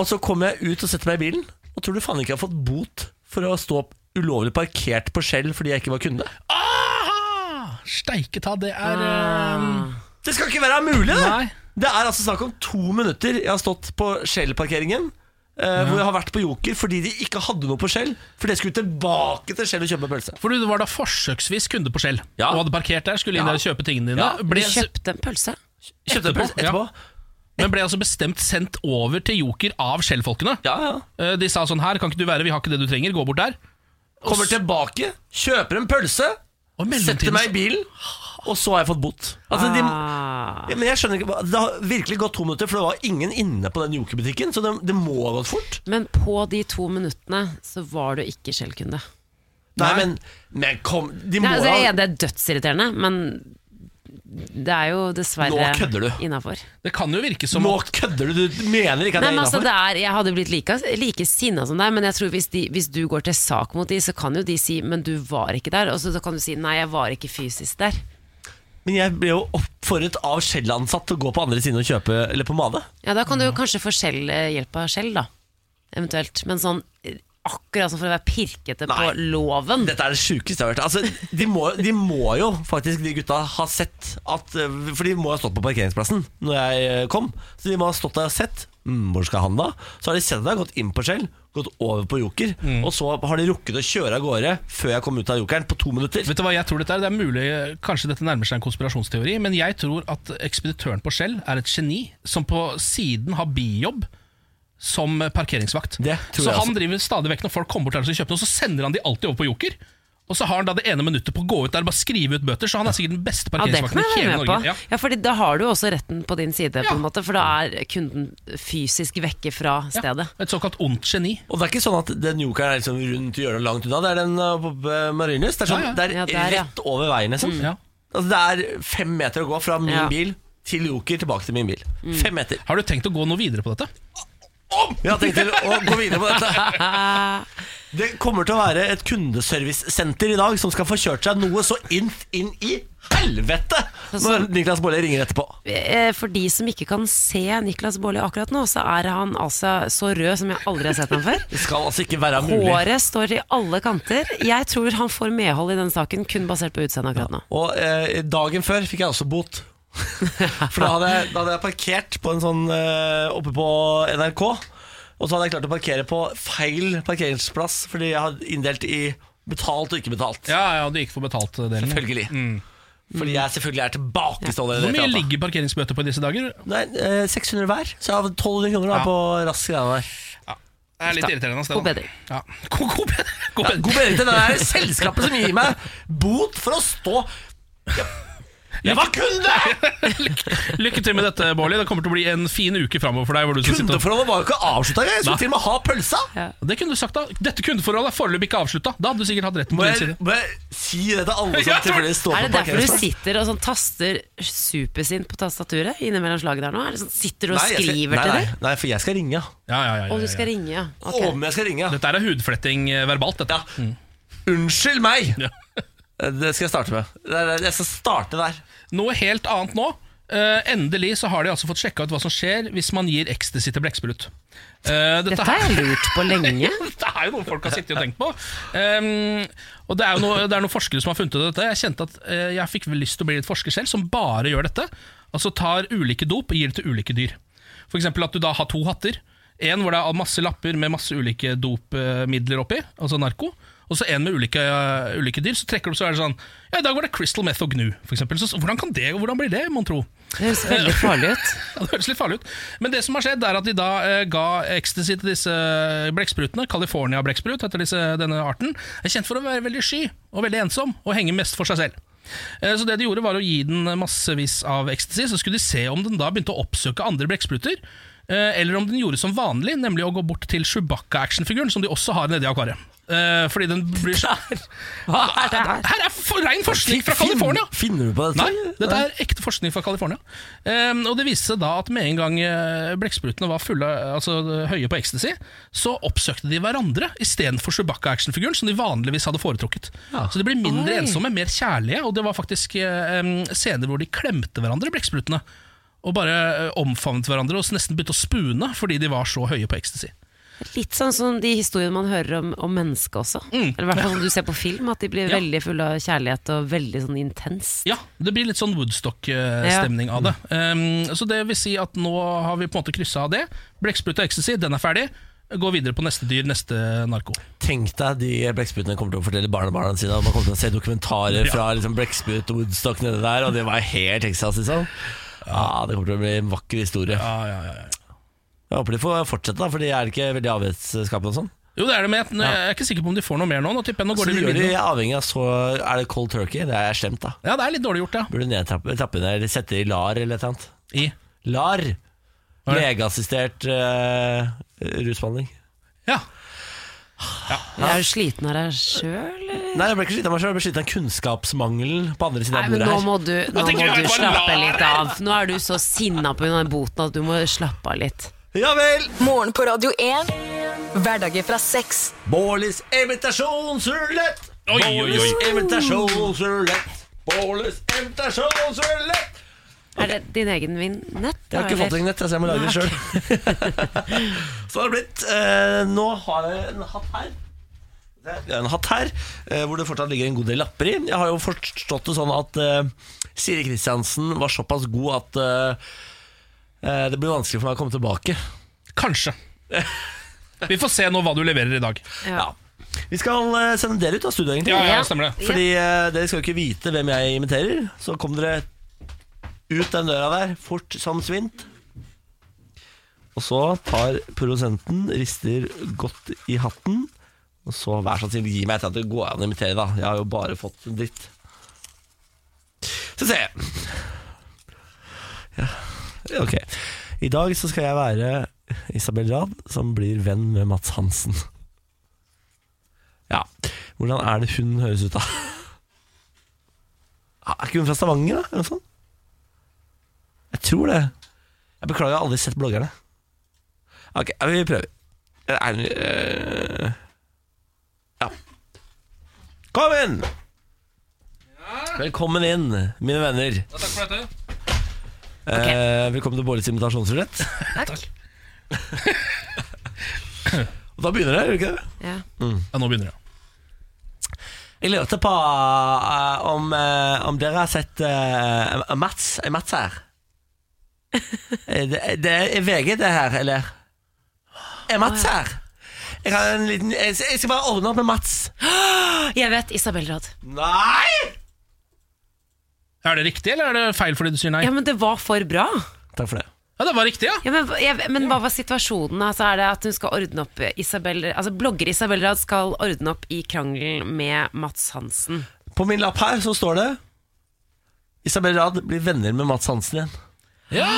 Speaker 1: og så kommer jeg ut og setter meg i bilen, og tror du faen ikke jeg har fått bot for å stå ulovlig parkert på Shell fordi jeg ikke var kunde?
Speaker 3: Steike ta, det er eh,
Speaker 1: Det skal ikke være mulig, det!
Speaker 3: Nei.
Speaker 1: Det er altså snakk om to minutter jeg har stått på Shell-parkeringen. eh, Hvor jeg har vært på Joker fordi de ikke hadde noe på Shell. For jeg skulle tilbake til Shell og kjøpe pølse.
Speaker 3: For du var da forsøksvis kunde på Skjell
Speaker 1: Ja.
Speaker 3: og hadde parkert der, skulle inn
Speaker 1: Ja.
Speaker 3: der og kjøpe tingene dine.
Speaker 1: Ja,
Speaker 3: Ble-
Speaker 1: du
Speaker 2: Kjøpte en pølse.
Speaker 1: Kjøpte en pølse etterpå.
Speaker 3: Men ble altså bestemt sendt over til Joker av Skjell-folkene. Eh, De sa sånn her, kan ikke du være, vi har ikke det du trenger, gå bort der.
Speaker 1: Kommer tilbake, kjøper en pølse, setter meg i bilen, og så har jeg fått bot. Altså, de, ja, men jeg skjønner ikke hva- Det har virkelig gått to minutter, for det var ingen inne på den jokerbutikken, så det, det må ha gått fort.
Speaker 2: Men på de to minuttene så var du ikke Shell-kunde.
Speaker 1: Nei, men, men kom De må
Speaker 2: Nei, altså, jeg er
Speaker 1: ha
Speaker 2: enig, det er dødsirriterende, men det er jo dessverre
Speaker 1: Nå kødder du.
Speaker 2: innafor.
Speaker 3: Det kan jo virke som
Speaker 1: Nå kødder du! Du mener ikke at
Speaker 2: Nei,
Speaker 1: jeg
Speaker 2: men
Speaker 1: er
Speaker 2: altså,
Speaker 1: innafor?
Speaker 2: det er, jeg hadde blitt like, like sinna som deg, men jeg tror hvis, de, hvis du går til sak mot de, så kan jo de si 'men du var ikke der', og så da kan du si 'nei, jeg var ikke fysisk der'.
Speaker 1: Men jeg ble jo oppfordret av Shell-ansatt til å gå på andre siden og kjøpe leppepomade.
Speaker 2: Ja, da kan du jo
Speaker 1: Mm.
Speaker 2: kanskje få selv, eh, hjelp av Skjell, da. Eventuelt. Men sånn eh, akkurat sånn for å være pirkete på loven.
Speaker 1: Dette er det sjukeste jeg har hørt. Altså, de, må, de må jo faktisk, de gutta, ha sett at eh, For de må ha stått på parkeringsplassen når jeg eh, kom. Så de må ha stått der og sett. Mm, hvor skal han da? Så har de sett at jeg har gått inn på Skjell, gått over på Joker, og så har de rukket å kjøre av gårde før jeg kom ut av Jokeren, på to minutter.
Speaker 3: Vet du hva jeg tror dette er? Det er mulig, Kanskje dette nærmer seg en konspirasjonsteori, men jeg tror at ekspeditøren på Skjell er et geni som på siden har bijobb som parkeringsvakt.
Speaker 1: tror
Speaker 3: så
Speaker 1: jeg
Speaker 3: han
Speaker 1: også.
Speaker 3: driver stadig vekk når folk kommer bort der og skal kjøpe noe, så sender han de alltid over på Joker. Og så har han da det ene minuttet på å gå ut der og bare skrive ut bøter, så han er sikkert den beste
Speaker 2: Ja, det kan
Speaker 3: parkeringsvakten
Speaker 2: jeg
Speaker 3: i hele
Speaker 2: være med på.
Speaker 3: Norge.
Speaker 2: Ja. fordi da har du jo også retten på din side, på en måte, for da er kunden fysisk vekke fra stedet.
Speaker 3: Et såkalt ondt geni.
Speaker 1: Og det er ikke sånn at den jokeren er liksom rundt i hjørnet og langt unna. Det er den eh, på eh, Marienlyst. Det er, sånn,
Speaker 2: Ja, ja.
Speaker 1: det er
Speaker 2: Ja, der, ja.
Speaker 1: rett over veien, liksom.
Speaker 3: Mm. Ja.
Speaker 1: Altså, det er fem meter å gå fra min
Speaker 3: Ja.
Speaker 1: bil til joker, tilbake til min bil.
Speaker 2: Mm.
Speaker 1: Fem meter.
Speaker 3: Har du tenkt å gå noe videre på dette?
Speaker 1: Jeg har tenkt til å gå videre på dette. Det kommer til å være et kundeservicesenter i dag som skal få kjørt seg noe så inn, inn i helvete
Speaker 3: sånn-
Speaker 1: når Niklas Baarli ringer etterpå.
Speaker 2: Eh, For de som ikke kan se Niklas Baarli akkurat nå, så er han altså så rød som jeg aldri har sett ham før.
Speaker 1: Det skal altså ikke være mulig.
Speaker 2: Håret står i alle kanter. Jeg tror han får medhold i den saken, kun basert på utseendet akkurat nå.
Speaker 1: Og eh, dagen før fikk jeg også bot. For da hadde, jeg, da hadde jeg parkert på en sånn, eh, oppe på NRK. Og så hadde jeg klart å parkere på feil parkeringsplass fordi jeg hadde inndelt i betalt og ikke betalt.
Speaker 3: Ja, ja, du gikk for betalt eh, delen.
Speaker 1: Selvfølgelig. Fordi jeg selvfølgelig er tilbakestående. i
Speaker 3: Hvor
Speaker 1: det
Speaker 3: mye
Speaker 1: hele tatt.
Speaker 3: ligger parkeringsbøter på i disse dager?
Speaker 1: Nei, eh, 600 hver. Så jeg har 1200 kroner da,
Speaker 3: Ja.
Speaker 1: på rask greie der.
Speaker 3: Det er litt irriterende. altså, det,
Speaker 1: God
Speaker 3: da.
Speaker 1: bedring.
Speaker 3: Ja. God, god bedring. God
Speaker 1: Ja, god bedring til det der selskapet som gir meg bot for å stå Jeg var kunde!
Speaker 3: Lykke til med dette, Bårli. Det kommer til å bli en fin uke framover for deg. hvor du skal sitte og-
Speaker 1: Kundeforholdet var jo ikke avslutta, jeg. Jeg skulle
Speaker 3: Nei.
Speaker 1: til og med ha pølsa.
Speaker 3: Det kunne du sagt, da. Dette kundeforholdet er foreløpig ikke avslutta. Da hadde du sikkert hatt retten på
Speaker 1: Må
Speaker 3: din
Speaker 1: jeg,
Speaker 3: side.
Speaker 1: må jeg si det til alle som
Speaker 3: Jeg tror-
Speaker 1: tilfeldigvis står
Speaker 2: Er
Speaker 1: på
Speaker 2: det derfor du
Speaker 1: parkeringsplassen?
Speaker 2: sitter og sånn taster supersint på tastaturet innimellom slaget der nå? Er det sånn, sitter du og
Speaker 1: Nei, jeg skal-
Speaker 2: skriver
Speaker 1: nei,
Speaker 2: til
Speaker 1: nei,
Speaker 2: det?
Speaker 1: Nei, for jeg skal ringe.
Speaker 3: Ja, ja, ja,
Speaker 2: Å, du skal ringe, ja. Ok.
Speaker 1: Om jeg skal ringe, ja.
Speaker 3: Dette er hudfletting eh, verbalt, dette.
Speaker 1: Unnskyld meg! Eh, Det skal jeg starte med. Det er- Jeg skal starte der.
Speaker 3: Noe helt annet nå. Eh, endelig så har de altså fått sjekka ut hva som skjer hvis man gir ecstasy til blekksprut. Eh,
Speaker 2: Dette har jeg lurt på lenge.
Speaker 3: dette er jo noe folk har sittet og tenkt på. Um, og det er jo noe, det er noen forskere som har funnet ut av dette. Jeg kjente at eh, jeg fikk vel lyst til å bli litt forsker selv, som bare gjør dette. Altså tar ulike dop og gir det til ulike dyr. F.eks. at du da har to hatter. En hvor det er masse lapper med masse ulike dopmidler oppi, altså narko. Og så en med ulike, eh, ulike dyr. Så trekker du opp, så er det sånn Ja, i dag var det crystal meth og gnu, f.eks. Så så hvordan kan det, hvordan blir det, mon tro?
Speaker 2: Det høres veldig farlig ut.
Speaker 3: Ja, det høres litt farlig ut. Men det som har skjedd, er at de da eh, ga ecstasy til disse blekksprutene. California-blekksprut heter disse, denne arten. Er kjent for å være veldig sky og veldig ensom og henge mest for seg selv. Eh, Så det de gjorde var å gi den massevis av ecstasy, så skulle de se om den da begynte å oppsøke andre blekkspruter, eh, eller om den gjorde som vanlig, nemlig å gå bort til Chewbacca-actionfiguren, som de også har nedi akvariet. Eh, Fordi den blir så... Hva er det her? Her er for, rein forskning fra
Speaker 1: Fin-
Speaker 3: California!
Speaker 1: Finner du på dette?
Speaker 3: Nei, dette er ekte forskning fra California. Ehm, og det viste seg da at med en gang eh, blekksprutene var fulle, altså høye på ecstasy, så oppsøkte de hverandre istedenfor Chewbacca-actionfiguren, som de vanligvis hadde foretrukket. Så de ble mindre
Speaker 17: Oi.
Speaker 3: ensomme, mer kjærlige, og det var faktisk eh, em, scener hvor de klemte hverandre, blekksprutene. Og bare eh, omfavnet hverandre og så nesten begynte å spune fordi de var så høye på ecstasy.
Speaker 2: Litt sånn som de historiene man hører om, om mennesket også. Eller i hvert fall som du ser på film, at de blir
Speaker 3: Mm. Ja.
Speaker 2: veldig fulle av kjærlighet og veldig sånn intens.
Speaker 3: Ja, det blir litt sånn Woodstock-stemning av det. Um, så det vil si at nå har vi på en måte kryssa av det. Blekksprut og ecstasy, den er ferdig. Gå videre på neste dyr, neste narko.
Speaker 1: Tenk deg de blekksprutene kommer til å fortelle barnebarna sine at man kommer til å se dokumentarer
Speaker 3: Ja.
Speaker 1: fra liksom blekksprut og Woodstock nede der, og det var helt Texas, liksom. Ja, det kommer til å bli en vakker historie. Jeg håper de får fortsette, da, for de er ikke veldig avhetsskapende og sånn.
Speaker 3: Jo, det er det, men jeg, jeg er ikke sikker på om de får noe mer nå. Nå tipper jeg nå
Speaker 1: Så
Speaker 3: går
Speaker 1: de
Speaker 3: det
Speaker 1: gjør
Speaker 3: litt
Speaker 1: de
Speaker 3: mindre.
Speaker 1: avhengig av så Er det cold turkey? Det er slemt, da.
Speaker 3: Ja, det er litt dårlig gjort, ja.
Speaker 1: Burde nedtrappe trappe ned, eller sette i LAR eller et eller annet.
Speaker 3: I?
Speaker 1: LAR.
Speaker 3: Hva er det?
Speaker 1: Legeassistert eh, rusbehandling.
Speaker 2: Jeg er jo sliten av deg sjøl.
Speaker 1: Nei, jeg ble ikke sliten av meg selv, jeg ble sliten av kunnskapsmangelen på andre siden
Speaker 2: Nei,
Speaker 1: av
Speaker 2: men
Speaker 1: bordet
Speaker 2: nå
Speaker 1: her.
Speaker 2: må du, nå må du slappe litt av. Nå er du så sinna på grunn av den boten at du må slappe av litt.
Speaker 1: Ja vel!
Speaker 5: Morgen på Radio 1. Hverdager fra seks.
Speaker 1: Bårlis invitasjonsrulett!
Speaker 5: Oi, oi, oi.
Speaker 1: Bårlis invitasjonsrulett! Bårlis invitasjonsrulett!
Speaker 2: Er det din egen vignett?
Speaker 1: Jeg har ikke fått en nett, så jeg må lage det sjøl. Så har det blitt. Eh, nå har jeg en hatt her. Det er en hatt her eh, hvor det fortsatt ligger en god del lapper i. Jeg har jo forstått det sånn at eh, Siri Kristiansen var såpass god at eh, eh, det blir vanskelig for meg å komme tilbake.
Speaker 3: Kanskje. Vi får se nå hva du leverer i dag.
Speaker 1: Ja. Vi skal eh, sende dere ut av studio, egentlig.
Speaker 3: Ja, ja, stemmer det.
Speaker 1: Fordi eh, dere skal jo ikke vite hvem jeg imiterer. Så kom dere ut den døra der, fort som svint. Og så tar produsenten, rister godt i hatten, og så vær så snill, gi meg et eller annet det går an å imitere, da. Jeg har jo bare fått en dritt. Så se. Ja, ok. I dag så skal jeg være Isabel Rad, som blir venn med Mats Hansen. Ja. Hvordan er det hun høres ut, da? Er ikke hun fra Stavanger, da? Eller noe sånt? Jeg tror det. Jeg beklager, jeg har aldri sett bloggerne. Ok, ja, vi prøver. Er det øh, Ja. Kom inn! Velkommen inn, mine venner.
Speaker 3: Takk for dette.
Speaker 1: Eh, velkommen til Bårlis invitasjonsrulett.
Speaker 3: Takk.
Speaker 1: Og da begynner det, gjør det ikke det?
Speaker 2: Ja.
Speaker 3: Ja, nå begynner det.
Speaker 1: Jeg lurte på eh, om, eh, om dere har sett eh, Mats, er Mats her? Eh, det, det er VG det her, eller? Er Mats her? Jeg, har en liten, jeg jeg skal bare ordne opp med Mats.
Speaker 2: Jeg vet Isabel Rad.
Speaker 1: Nei!
Speaker 3: Er det riktig, eller er det feil fordi du sier nei?
Speaker 2: Ja, men det var for bra.
Speaker 1: Takk for det.
Speaker 3: Ja, det var riktig, ja.
Speaker 2: Ja, men, jeg, men hva var situasjonen? Altså, er det at hun skal ordne opp Isabel, altså Blogger Isabel Rad skal ordne opp i krangelen med Mats Hansen.
Speaker 1: På min lapp her så står det Isabel Rad blir venner med Mats Hansen igjen.
Speaker 2: Ja.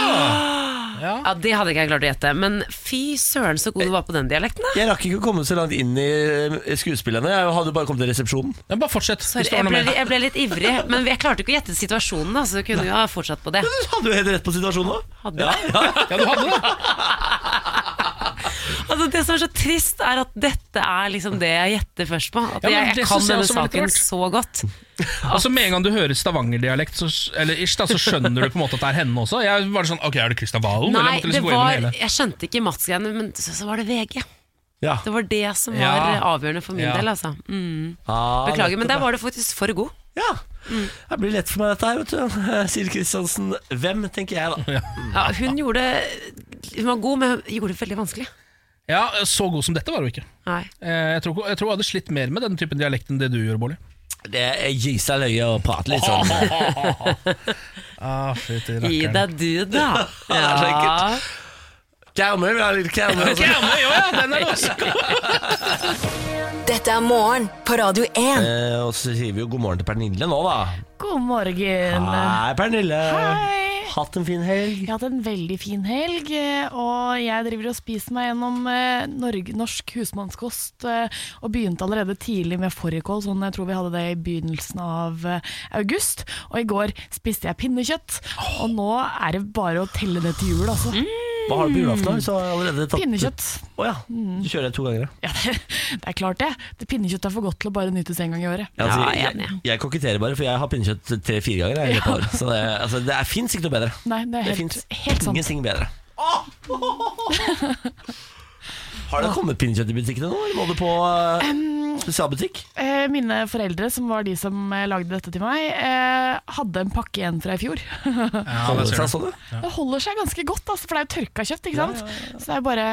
Speaker 2: Det hadde ikke jeg klart å gjette. Men fy søren så god du var på den dialekten. da.
Speaker 1: Jeg rakk ikke å komme så langt inn i eh, skuespillene. Jeg hadde bare kommet til resepsjonen.
Speaker 3: Men bare fortsett.
Speaker 2: Sorry, jeg ble, jeg ble litt ivrig, men jeg klarte ikke å gjette situasjonen. Da, så jeg kunne jo ha fortsatt på det.
Speaker 1: Du hadde jo helt rett på situasjonen òg.
Speaker 2: Hadde jeg?
Speaker 3: Ja, du hadde det.
Speaker 2: Altså, det som er så trist, er at dette er liksom det jeg gjetter først på. At
Speaker 3: Ja, men
Speaker 2: jeg,
Speaker 3: det
Speaker 2: jeg kan
Speaker 3: synes jeg
Speaker 2: denne
Speaker 3: også var litt
Speaker 2: saken
Speaker 3: rart.
Speaker 2: så godt.
Speaker 3: Altså Med en gang du hører stavangerdialekt, så- eller ish, da, så skjønner du på en måte at det er henne også. Jeg var sånn, ok, er det Kristian Valen? Eller
Speaker 2: Nei,
Speaker 3: jeg måtte
Speaker 2: det
Speaker 3: liksom gå gjennom
Speaker 2: var,
Speaker 3: hele.
Speaker 2: jeg skjønte ikke Mats-greiene, men så, så var det VG.
Speaker 1: Ja.
Speaker 2: Det var det som var
Speaker 1: Ja.
Speaker 2: eh, avgjørende for min
Speaker 1: Ja.
Speaker 2: del, altså. Mm.
Speaker 1: Ah,
Speaker 2: Beklager, men
Speaker 1: nettopp,
Speaker 2: der var du faktisk for god.
Speaker 1: Ja. Det blir lett for meg dette her, vet du. Sier Kristiansen. Hvem, tenker jeg da.
Speaker 2: Ja, hun gjorde Hun var god, men hun gjorde det veldig vanskelig.
Speaker 3: Ja, Så god som dette var hun ikke.
Speaker 2: Nei.
Speaker 3: Eh, Jeg tror, ikke- jeg tror hun hadde slitt mer med den typen dialekt enn det du gjorde, Bårli.
Speaker 1: Det er gysa løye å prate litt sånn.
Speaker 3: Ah, fytti
Speaker 2: Gi
Speaker 3: rakkeren.
Speaker 2: deg du, da.
Speaker 1: Det er så ekkelt. Kærmøy, vi har litt kærmøy. også.
Speaker 3: Kærmøy, ja, ja, den er det også.
Speaker 18: Dette er morgen på Radio 1.
Speaker 1: Eh, og så sier vi jo god morgen til Pernille nå, da.
Speaker 8: God morgen.
Speaker 1: Hei, Pernille.
Speaker 8: Hei.
Speaker 1: Hatt en fin helg.
Speaker 8: Jeg har hatt en veldig fin helg, eh, og jeg driver og spiser meg gjennom eh, Norge, norsk husmannskost. eh, Og begynte allerede tidlig med fårikål, sånn jeg tror vi hadde det i begynnelsen av eh, august. Og i går spiste jeg pinnekjøtt, og nå er det bare å telle det til jul, altså.
Speaker 15: Mm.
Speaker 1: Hva har du på julaften? da, Hvis du har allerede tatt
Speaker 8: Pinnekjøtt.
Speaker 1: Å ja.
Speaker 8: Mm.
Speaker 1: Du kjører det to ganger, ja.
Speaker 8: Det er klart det. det. Pinnekjøtt er for godt til å bare nytes en gang i året.
Speaker 1: Ja, altså, jeg, jeg koketterer bare, for jeg har pinnekjøtt tre-fire ganger. Jeg, i løpet av året. Så det, altså, det er- fins ikke noe bedre.
Speaker 8: Nei, det er
Speaker 1: Det
Speaker 8: helt,
Speaker 1: fins
Speaker 8: helt sant.
Speaker 1: ingenting bedre. Har det kommet pinnekjøtt i butikkene nå, eller må du på eh, spesialbutikk?
Speaker 8: Eh, Mine foreldre, som var de som eh, lagde dette til meg, eh, hadde en pakke igjen fra i fjor.
Speaker 1: Holder det seg sånn, du?
Speaker 8: Det holder seg ganske godt, altså, for det er jo tørka kjøtt, ikke sant? Så det er bare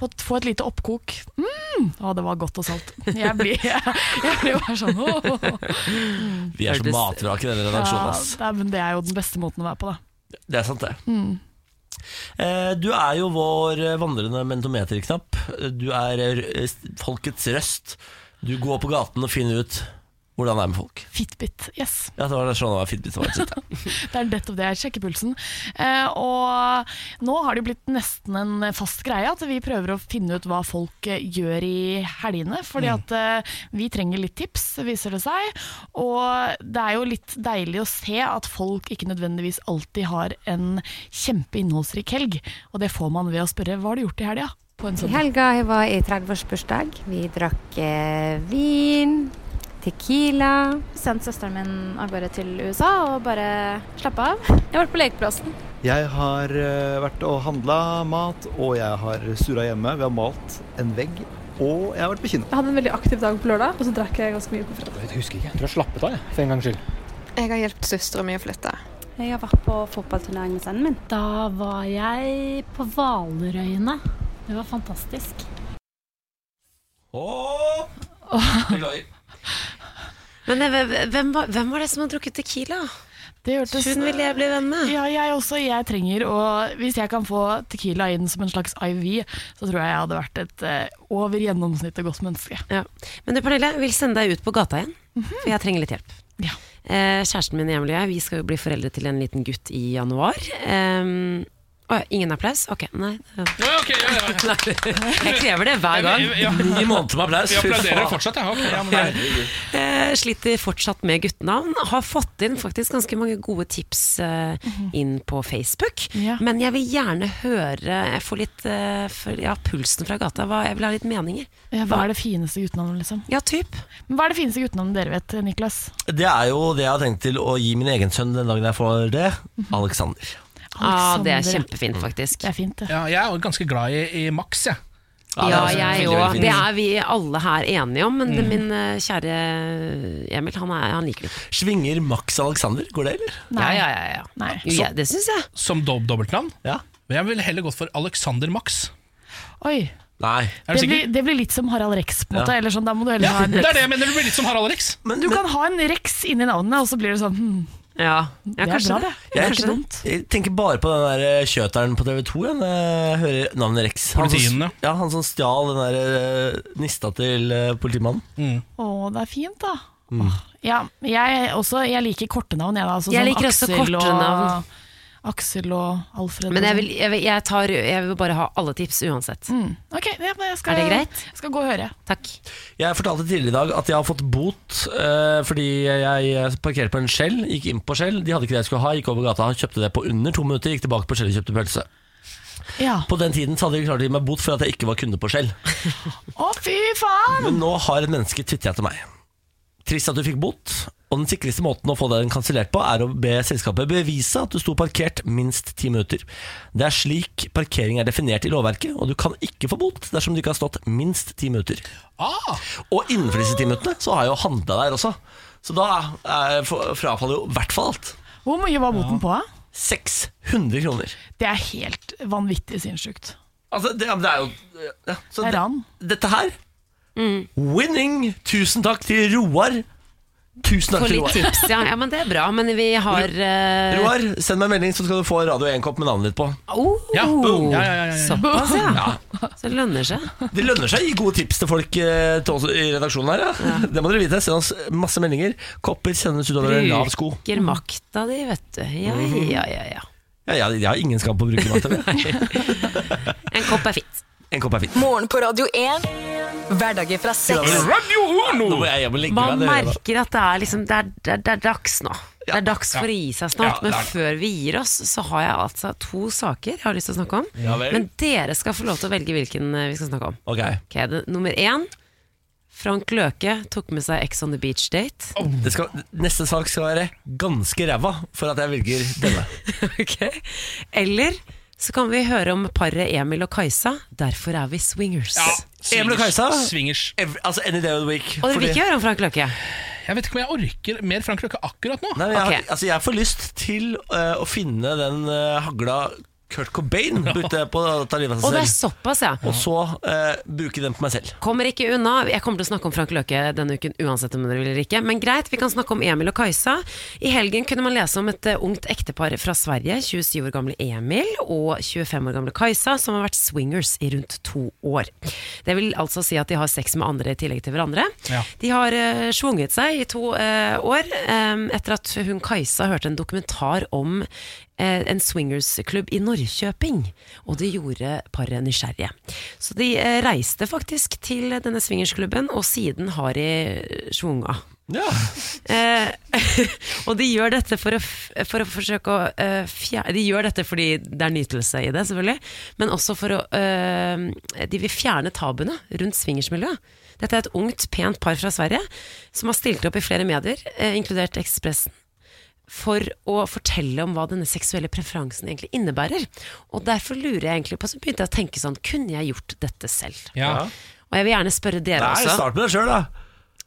Speaker 8: få, få et lite oppkok. Mm! Å, det var godt og salt. Jeg blir, jeg, blir bare sånn åh.
Speaker 1: Vi er så
Speaker 8: Hørtes-
Speaker 1: matvrak i denne redaksjonen.
Speaker 8: Ja,
Speaker 1: ass.
Speaker 8: det, er, men det er jo den beste måten å være på, da.
Speaker 1: Det er sant, det.
Speaker 8: Mm.
Speaker 1: Eh, Du er jo vår eh, vandrende mentometerknapp. Du er eh, r- folkets røst. Du går på gaten og finner ut hvordan det er med folk.
Speaker 8: Fitbit, yes.
Speaker 1: Ja, det var sånn det var Fitbit var. sitt, ja.
Speaker 8: Det er nettopp det jeg sjekker pulsen. Eh, og nå har det jo blitt nesten en fast greie at vi prøver å finne ut hva folk eh, gjør i helgene. Fordi
Speaker 19: Mm.
Speaker 8: at eh, vi trenger litt tips, viser det seg. Og det er jo litt deilig å se at folk ikke nødvendigvis alltid har en kjempeinnholdsrik helg. Og det får man ved å spørre hva har du gjort i helga? På en
Speaker 20: I
Speaker 8: søndag.
Speaker 20: helga jeg var i 30-årsbursdag. Vi drakk eh, vin, tequila.
Speaker 21: sendt søsteren min av gårde til USA og bare slappa av. Jeg har vært på lekeplassen.
Speaker 22: Jeg har eh, vært og handla mat, og jeg har surra hjemme. Vi har malt en vegg, og jeg har vært på kino.
Speaker 23: Jeg hadde en veldig aktiv dag på lørdag, og så drakk jeg ganske mye på fredag.
Speaker 22: Jeg husker ikke. Jeg tror jeg slappet av, jeg, for en gangs skyld.
Speaker 23: Jeg har hjulpet søstera mi å flytte.
Speaker 5: Jeg har vært på fotballturnering med sønnen min. Da var jeg på Hvalerøyene. Det var fantastisk.
Speaker 1: Beklager.
Speaker 2: Men eh, hvem var, hvem var det som hadde drukket Tequila?
Speaker 8: Det hørtes
Speaker 2: Hun ville jeg bli venn med.
Speaker 8: Ja, jeg også. Jeg trenger å Hvis jeg kan få Tequila inn som en slags IV, så tror jeg jeg hadde vært et eh, over gjennomsnittet godt menneske. Mhm.
Speaker 2: Ja. Men du, Pernille, jeg vil sende deg ut på gata igjen, for jeg trenger litt hjelp. Eh, kjæresten min Emil og jeg, vi skal jo bli foreldre til en liten gutt i januar. Um, å, ja, ingen applaus? Ok, nei.
Speaker 3: Ja, ok, ja, ja.
Speaker 2: Jeg krever det hver gang.
Speaker 3: Ja.
Speaker 1: Ni måneder med applaus.
Speaker 3: Vi
Speaker 1: Fy
Speaker 3: applauderer
Speaker 1: faen.
Speaker 3: fortsatt, ja. Ok, ja, men det er-
Speaker 1: Herregud.
Speaker 2: Eh, sliter fortsatt med guttenavn. Har fått inn faktisk ganske mange gode tips eh, inn på Facebook. Men jeg vil gjerne høre Jeg får litt eh, for, ja, pulsen fra gata. Hva, jeg vil ha litt meninger.
Speaker 8: Ja, eh, hva er det fineste guttenavnet, liksom?
Speaker 2: Ja, typ.
Speaker 8: Men hva er det fineste guttenavnet dere vet, Niklas?
Speaker 1: Det er jo det jeg har tenkt til å gi min egen sønn den dagen jeg får det. Alexander.
Speaker 2: Ah, det er
Speaker 3: Alexander.
Speaker 2: kjempefint, faktisk.
Speaker 8: Det er fint, det.
Speaker 3: Ja, jeg er jo ganske glad i, i Max, jeg.
Speaker 2: Ja, jeg òg. Det er vi alle her enige om, men min eh, kjære eh, Emil, han, er, han liker det.
Speaker 1: Svinger Max Alexander, går det, eller?
Speaker 2: Ja, ja, ja, ja. Jo, jeg- det syns jeg.
Speaker 3: Som dob dobbeltnavn?
Speaker 1: Ja.
Speaker 3: Men jeg ville heller gått for Alexander Max.
Speaker 8: Oi,
Speaker 1: Nei.
Speaker 8: det blir, det blir litt som Harald Rex, på en måte.
Speaker 3: Ja.
Speaker 8: Eller sånn, da må du heller
Speaker 3: Ja,
Speaker 8: ha en
Speaker 3: det er det
Speaker 8: Rex.
Speaker 3: jeg mener, det blir litt som Harald Rex.
Speaker 8: Men du kan ha en Rex inni navnet, og så blir det sånn hmm,
Speaker 2: Ja,
Speaker 8: Det er bra, det. Det er ikke dumt.
Speaker 1: Jeg tenker bare på den der eh, kjøteren på TV 2 når jeg hører navnet Rex. Han som-
Speaker 3: Politien, ja.
Speaker 1: ja, han som stjal den der eh, nista til eh, politimannen.
Speaker 8: Å, det er fint, da.
Speaker 17: Ja,
Speaker 8: Eh,
Speaker 17: jeg, også, jeg liker korte navn, jeg da. Altså, sånn
Speaker 2: Jeg liker også
Speaker 17: Aksel
Speaker 2: korte
Speaker 17: og,
Speaker 2: navn.
Speaker 17: Aksel og Alfred.
Speaker 2: Men
Speaker 17: og
Speaker 2: jeg vil,
Speaker 17: sånn.
Speaker 2: jeg, vil, jeg, tar, jeg vil bare ha alle tips uansett.
Speaker 17: Ok, ja, men jeg skal,
Speaker 2: Er det greit?
Speaker 17: Jeg skal gå og høre.
Speaker 2: Takk.
Speaker 1: Jeg fortalte tidligere i dag at jeg har fått bot eh, fordi jeg parkerte på en Shell, gikk inn på Shell, de hadde ikke det jeg skulle ha, gikk over gata, kjøpte det på under to minutter, gikk tilbake på Shell og kjøpte pølse.
Speaker 17: Ja.
Speaker 1: På den tiden så hadde de klart å gi meg bot for at jeg ikke var kunde på Shell.
Speaker 17: Å, fy faen!
Speaker 1: Men nå har et menneske twitret til meg. Trist at du fikk bot, og den sikreste måten å få den kansellert på, er å be selskapet bevise at du sto parkert minst ti minutter. Det er slik parkering er definert i lovverket, og du kan ikke få bot dersom du ikke har stått minst ti minutter. Og innenfor disse ti minuttene så har jeg jo handla der også, så da eh, for- frafaller jo i hvert fall alt.
Speaker 17: Hvor mye var boten på? da?
Speaker 1: 600 kroner.
Speaker 17: Det er helt vanvittig sinnssykt.
Speaker 1: Altså, det, det er jo ja, så
Speaker 17: Det er
Speaker 1: det-
Speaker 17: ran.
Speaker 1: Dette her Winning! Tusen takk til Roar. Tusen takk
Speaker 2: For
Speaker 1: til
Speaker 2: litt
Speaker 1: Roar.
Speaker 2: tips, ja. ja. Men det er bra. Men vi har eh,
Speaker 1: Roar, send meg en melding, så skal du få Radio 1-kopp med navnet ditt på.
Speaker 2: Oh,
Speaker 1: Ja, boom. Ja, ja, ja, ja, ja.
Speaker 2: Såpass, ja.
Speaker 1: Ja.
Speaker 2: Så det lønner seg.
Speaker 1: Det lønner seg å gi gode tips til folk eh, til oss i redaksjonen her. Ja. Det må dere vite. Send oss masse meldinger. Kopper sendes ut over en lav sko.
Speaker 2: Bruker makta di, vet du. Ja,
Speaker 1: Mhm.
Speaker 2: ja, ja. ja.
Speaker 1: Ja, jeg, jeg har ingen skam på å bruke mat.
Speaker 2: En kopp er fint.
Speaker 1: En kopp er fint.
Speaker 5: Morgen på Radio 1. Hverdager fra seks.
Speaker 1: Nå må jeg hjem og legge meg.
Speaker 2: Man
Speaker 1: det gjør jeg da.
Speaker 2: merker at det er, liksom, det er, det er, det er dags nå. Det er dags for å gi seg snart.
Speaker 1: Ja, det
Speaker 2: Men
Speaker 1: er det.
Speaker 2: før vi gir oss, så har jeg altså to saker jeg har lyst til å snakke om.
Speaker 1: Ja vel.
Speaker 2: Men dere skal få lov til å velge hvilken eh, vi skal snakke om.
Speaker 1: Ok,
Speaker 2: Ok, det, Nummer én. Frank Løke tok med seg Ex on the Beach-date.
Speaker 1: det skal, Neste sak skal være ganske ræva for at jeg velger denne.
Speaker 2: Eller så kan vi høre om paret Emil og Kajsa. Derfor er vi swingers.
Speaker 1: Emil og Kajsa.
Speaker 3: Swingers.
Speaker 1: Ev- altså Any day of the week.
Speaker 2: Og dere vil
Speaker 1: fordi-
Speaker 2: ikke høre om Frank Løke?
Speaker 3: Jeg vet ikke om jeg orker mer Frank Løkke akkurat nå.
Speaker 1: Nei, men jeg, altså, jeg får lyst til eh, å finne den eh, hagla Kurt Cobain brukte på å ta livet
Speaker 2: Og
Speaker 1: av
Speaker 2: det
Speaker 1: seg
Speaker 2: er
Speaker 1: selv.
Speaker 2: såpass, ja.
Speaker 1: Og så eh, bruke den på meg selv.
Speaker 2: Kommer ikke unna. Jeg kommer til å snakke om Frank Løke denne uken uansett om dere vil eller ikke. Men greit, vi kan snakke om Emil og Kajsa. I helgen kunne man lese om et eh, ungt ektepar fra Sverige. 27 år gamle Emil og 25 år gamle Kajsa, som har vært swingers i rundt to år. Det vil altså si at de har sex med andre i tillegg til hverandre.
Speaker 4: Ja.
Speaker 2: De har eh, svunget seg i to eh, år eh, etter at hun Kajsa hørte en dokumentar om eh, en swingersklubb i Norrköping. Og det gjorde paret nysgjerrige. Så de eh, reiste faktisk til denne swingersklubben, og siden har de eh, svunga. Eh, og de gjør dette for å, f- for å forsøke å eh, fjer- De gjør dette fordi det er nytelse i det, selvfølgelig, men også for å eh, De vil fjerne tabuene rundt swingersmiljøet. Dette er et ungt, pent par fra Sverige som har stilt opp i flere medier, eh, inkludert Ekspressen, for å fortelle om hva denne seksuelle preferansen egentlig innebærer. Og derfor lurer jeg egentlig på Så begynte jeg å tenke sånn Kunne jeg gjort dette selv?
Speaker 1: Ja.
Speaker 2: Og jeg vil gjerne spørre dere
Speaker 1: Nei,
Speaker 2: også.
Speaker 1: start med deg sjøl, da.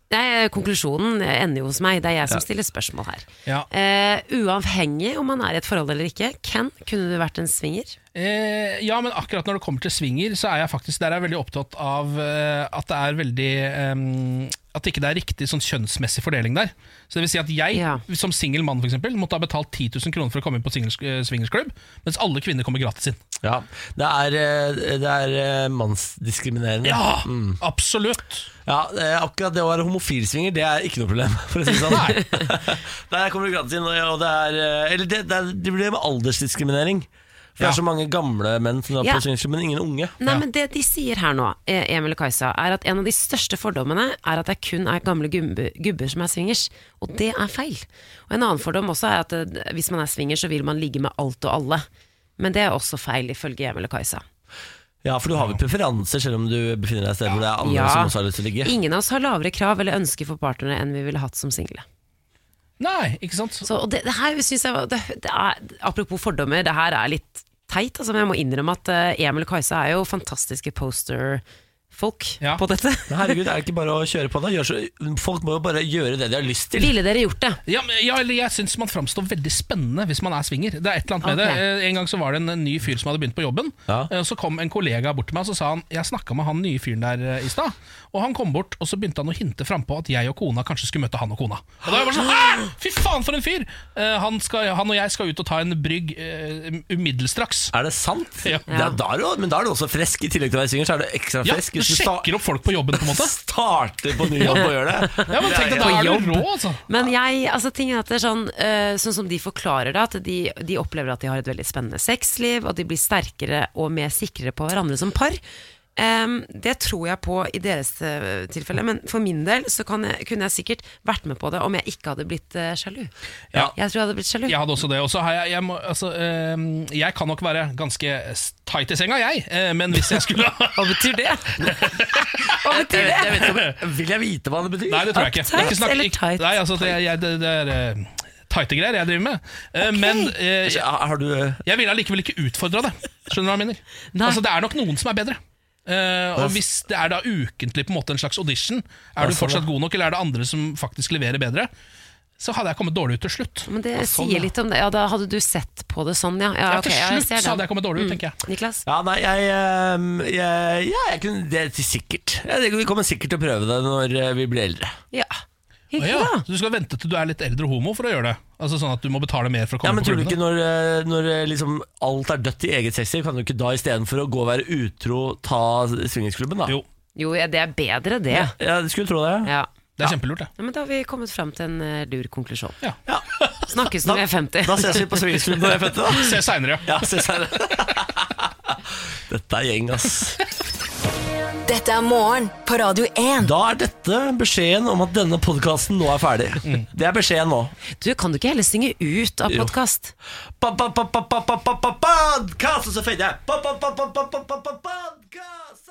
Speaker 2: Nei, konklusjonen ender jo hos meg. Det er jeg som
Speaker 1: Ja.
Speaker 2: stiller spørsmål her. Eh, uavhengig om man er i et forhold eller ikke, Ken, kunne du vært en swinger?
Speaker 3: Eh, ja, men akkurat når det kommer til swinger, så er jeg faktisk der er jeg veldig opptatt av eh, at det er veldig eh, At ikke det er riktig sånn kjønnsmessig fordeling der. Så det vil si at jeg, som singel mann, for eksempel, måtte ha betalt 10 000 kroner for å komme inn på singles, eh, swingersklubb, mens alle kvinner kommer gratis inn.
Speaker 1: Ja. Det er, eh, det er eh, mannsdiskriminerende.
Speaker 3: Ja,
Speaker 1: Mm.
Speaker 3: absolutt.
Speaker 1: Ja, eh, akkurat det å være homofilsvinger, det er ikke noe problem, for å si det sånn. Der kommer du gratis inn, og det er eh, Eller det, det, er, det blir med aldersdiskriminering. For det
Speaker 2: Ja.
Speaker 1: er så mange gamle menn som drar
Speaker 2: Ja.
Speaker 1: på swingersklubb, men ingen unge.
Speaker 2: Nei, men Det de sier her nå, eh, Emil og Kajsa, er at en av de største fordommene er at det kun er gamle gubbe, gubber som er swingers, og det er feil. Og En annen fordom også er at eh, hvis man er swinger, så vil man ligge med alt og alle. Men det er også feil, ifølge Emil og Kajsa.
Speaker 1: Ja, for du har vel preferanser selv om du befinner deg et sted hvor det er andre
Speaker 2: Ja.
Speaker 1: som også har lyst til å ligge.
Speaker 2: Ingen av oss har lavere krav eller ønsker for partnere enn vi ville hatt som single.
Speaker 3: Nei, ikke sant?
Speaker 2: Så, og det, det her synes jeg var- det, det er, Apropos fordommer, det her er litt teit. Altså, men jeg må innrømme at eh, Emil og Kajsa er jo fantastiske poster-folk på dette.
Speaker 1: Men Herregud, er det ikke bare å kjøre på da? Gjør så, folk må jo bare gjøre det de har lyst til.
Speaker 2: Ville dere gjort det?
Speaker 3: Ja, men, ja, eller jeg syns man framstår veldig spennende hvis man er swinger. Det er et eller annet med
Speaker 1: Ok.
Speaker 3: det. Eh, En gang så var det en en ny fyr som hadde begynt på jobben. Eh, Så kom en kollega bort til meg og så sa han Jeg snakka med han nye fyren der eh, i stad. Og han kom bort, og så begynte han å hinte frampå at jeg og kona kanskje skulle møte han og kona. Og da var jeg bare sånn, Hæ! Fy faen for en fyr! Eh, Han, skal, han og jeg skal ut og ta en brygg eh, umiddelstraks.
Speaker 1: Er det sant?
Speaker 3: Ja.
Speaker 1: Det er, da er det, jo- men da er det også fresk, i tillegg til å være swinger, så er det ekstra
Speaker 3: Ja,
Speaker 1: fresk.
Speaker 3: du sjekker opp folk på jobben, på en måte?
Speaker 1: Starter på ny jobb og gjør det?
Speaker 3: Ja, men tenk deg, da
Speaker 1: På
Speaker 3: er
Speaker 1: jobb.
Speaker 3: du rå, altså.
Speaker 2: Men jeg, altså ting er at det er sånn, eh, sånn som de forklarer det, at de, de opplever at de har et veldig spennende sexliv, og at de blir sterkere og mer sikre på hverandre som par. Em, det tror jeg på i deres eh, tilfelle, men for min del så kan jeg, kunne jeg sikkert vært med på det om jeg ikke hadde blitt eh, sjalu. Jeg tror jeg hadde blitt sjalu.
Speaker 3: Jeg hadde også det. Og så har jeg, jeg, må, altså, øhm, jeg kan nok være ganske s- tight i senga, jeg. eh, Men hvis jeg skulle
Speaker 2: Hva betyr det? Hva
Speaker 1: betyr det? Jeg vet ikke om- vil jeg vite hva det betyr?
Speaker 3: Nei, det tror jeg ikke. Det er
Speaker 1: Uptight
Speaker 3: ikke snakk-
Speaker 1: eller
Speaker 3: ikke- Nei, altså, det, jeg, det, det er eh, tighte greier jeg driver med. Eh, Men eh, jeg ville allikevel ikke utfordra det. Skjønner du hva jeg mener? Altså, det er nok noen som er bedre. Eh, og hvis det er da ukentlig på en måte en slags audition,
Speaker 1: Ja,
Speaker 3: er du
Speaker 1: sånn,
Speaker 3: fortsatt
Speaker 1: ja.
Speaker 3: god nok, eller er det andre som faktisk leverer bedre, så hadde jeg kommet dårlig ut til slutt.
Speaker 2: Men det
Speaker 3: Og sånn,
Speaker 2: sier
Speaker 3: ja.
Speaker 2: litt om det. Ja, da hadde du sett på det sånn, ja.
Speaker 3: Ja,
Speaker 2: ok,
Speaker 3: til
Speaker 2: jeg
Speaker 3: slutt
Speaker 2: ser Mm.
Speaker 3: så
Speaker 2: det.
Speaker 3: hadde jeg kommet dårlig ut, tenker jeg.
Speaker 2: Niklas?
Speaker 1: Ja, nei, jeg, ehm, jeg, ja, jeg kunne, det er sikkert. Jeg, tenker vi kommer sikkert til å prøve det når eh, vi blir eldre.
Speaker 2: Ja.
Speaker 3: Å ja, Så du skal vente til du er litt eldre homo for å gjøre det? Altså Sånn at du må betale mer for å komme
Speaker 1: Ja, men
Speaker 3: på
Speaker 1: tror du
Speaker 3: klubbene?
Speaker 1: ikke når, eh, når eh, liksom alt er dødt i eget sexliv, kan du ikke da istedenfor å gå og være utro, ta swingingsklubben, da? Jo.
Speaker 2: Jo, ja, det er bedre det.
Speaker 1: Ja, jeg skulle tro det.
Speaker 2: Ja.
Speaker 3: Det er kjempelurt, det.
Speaker 2: Ja, men da har vi kommet fram til en eh, lur konklusjon.
Speaker 3: Ja.
Speaker 2: Snakkes når vi er 50.
Speaker 1: Da ses vi på swingingsklubben når jeg er 50, da.
Speaker 3: Se seinere,
Speaker 1: ja. se senere. Dette er gjeng, ass.
Speaker 5: Dette er morgen på Radio 1.
Speaker 1: Da er dette beskjeden om at denne podkasten nå er ferdig. Det er beskjeden nå.
Speaker 2: Du, kan du ikke heller synge ut av podkast?
Speaker 1: Podkast, og så fader jeg. Pa, pa, pa, pa, pa, pa, pa, pa, Podcast!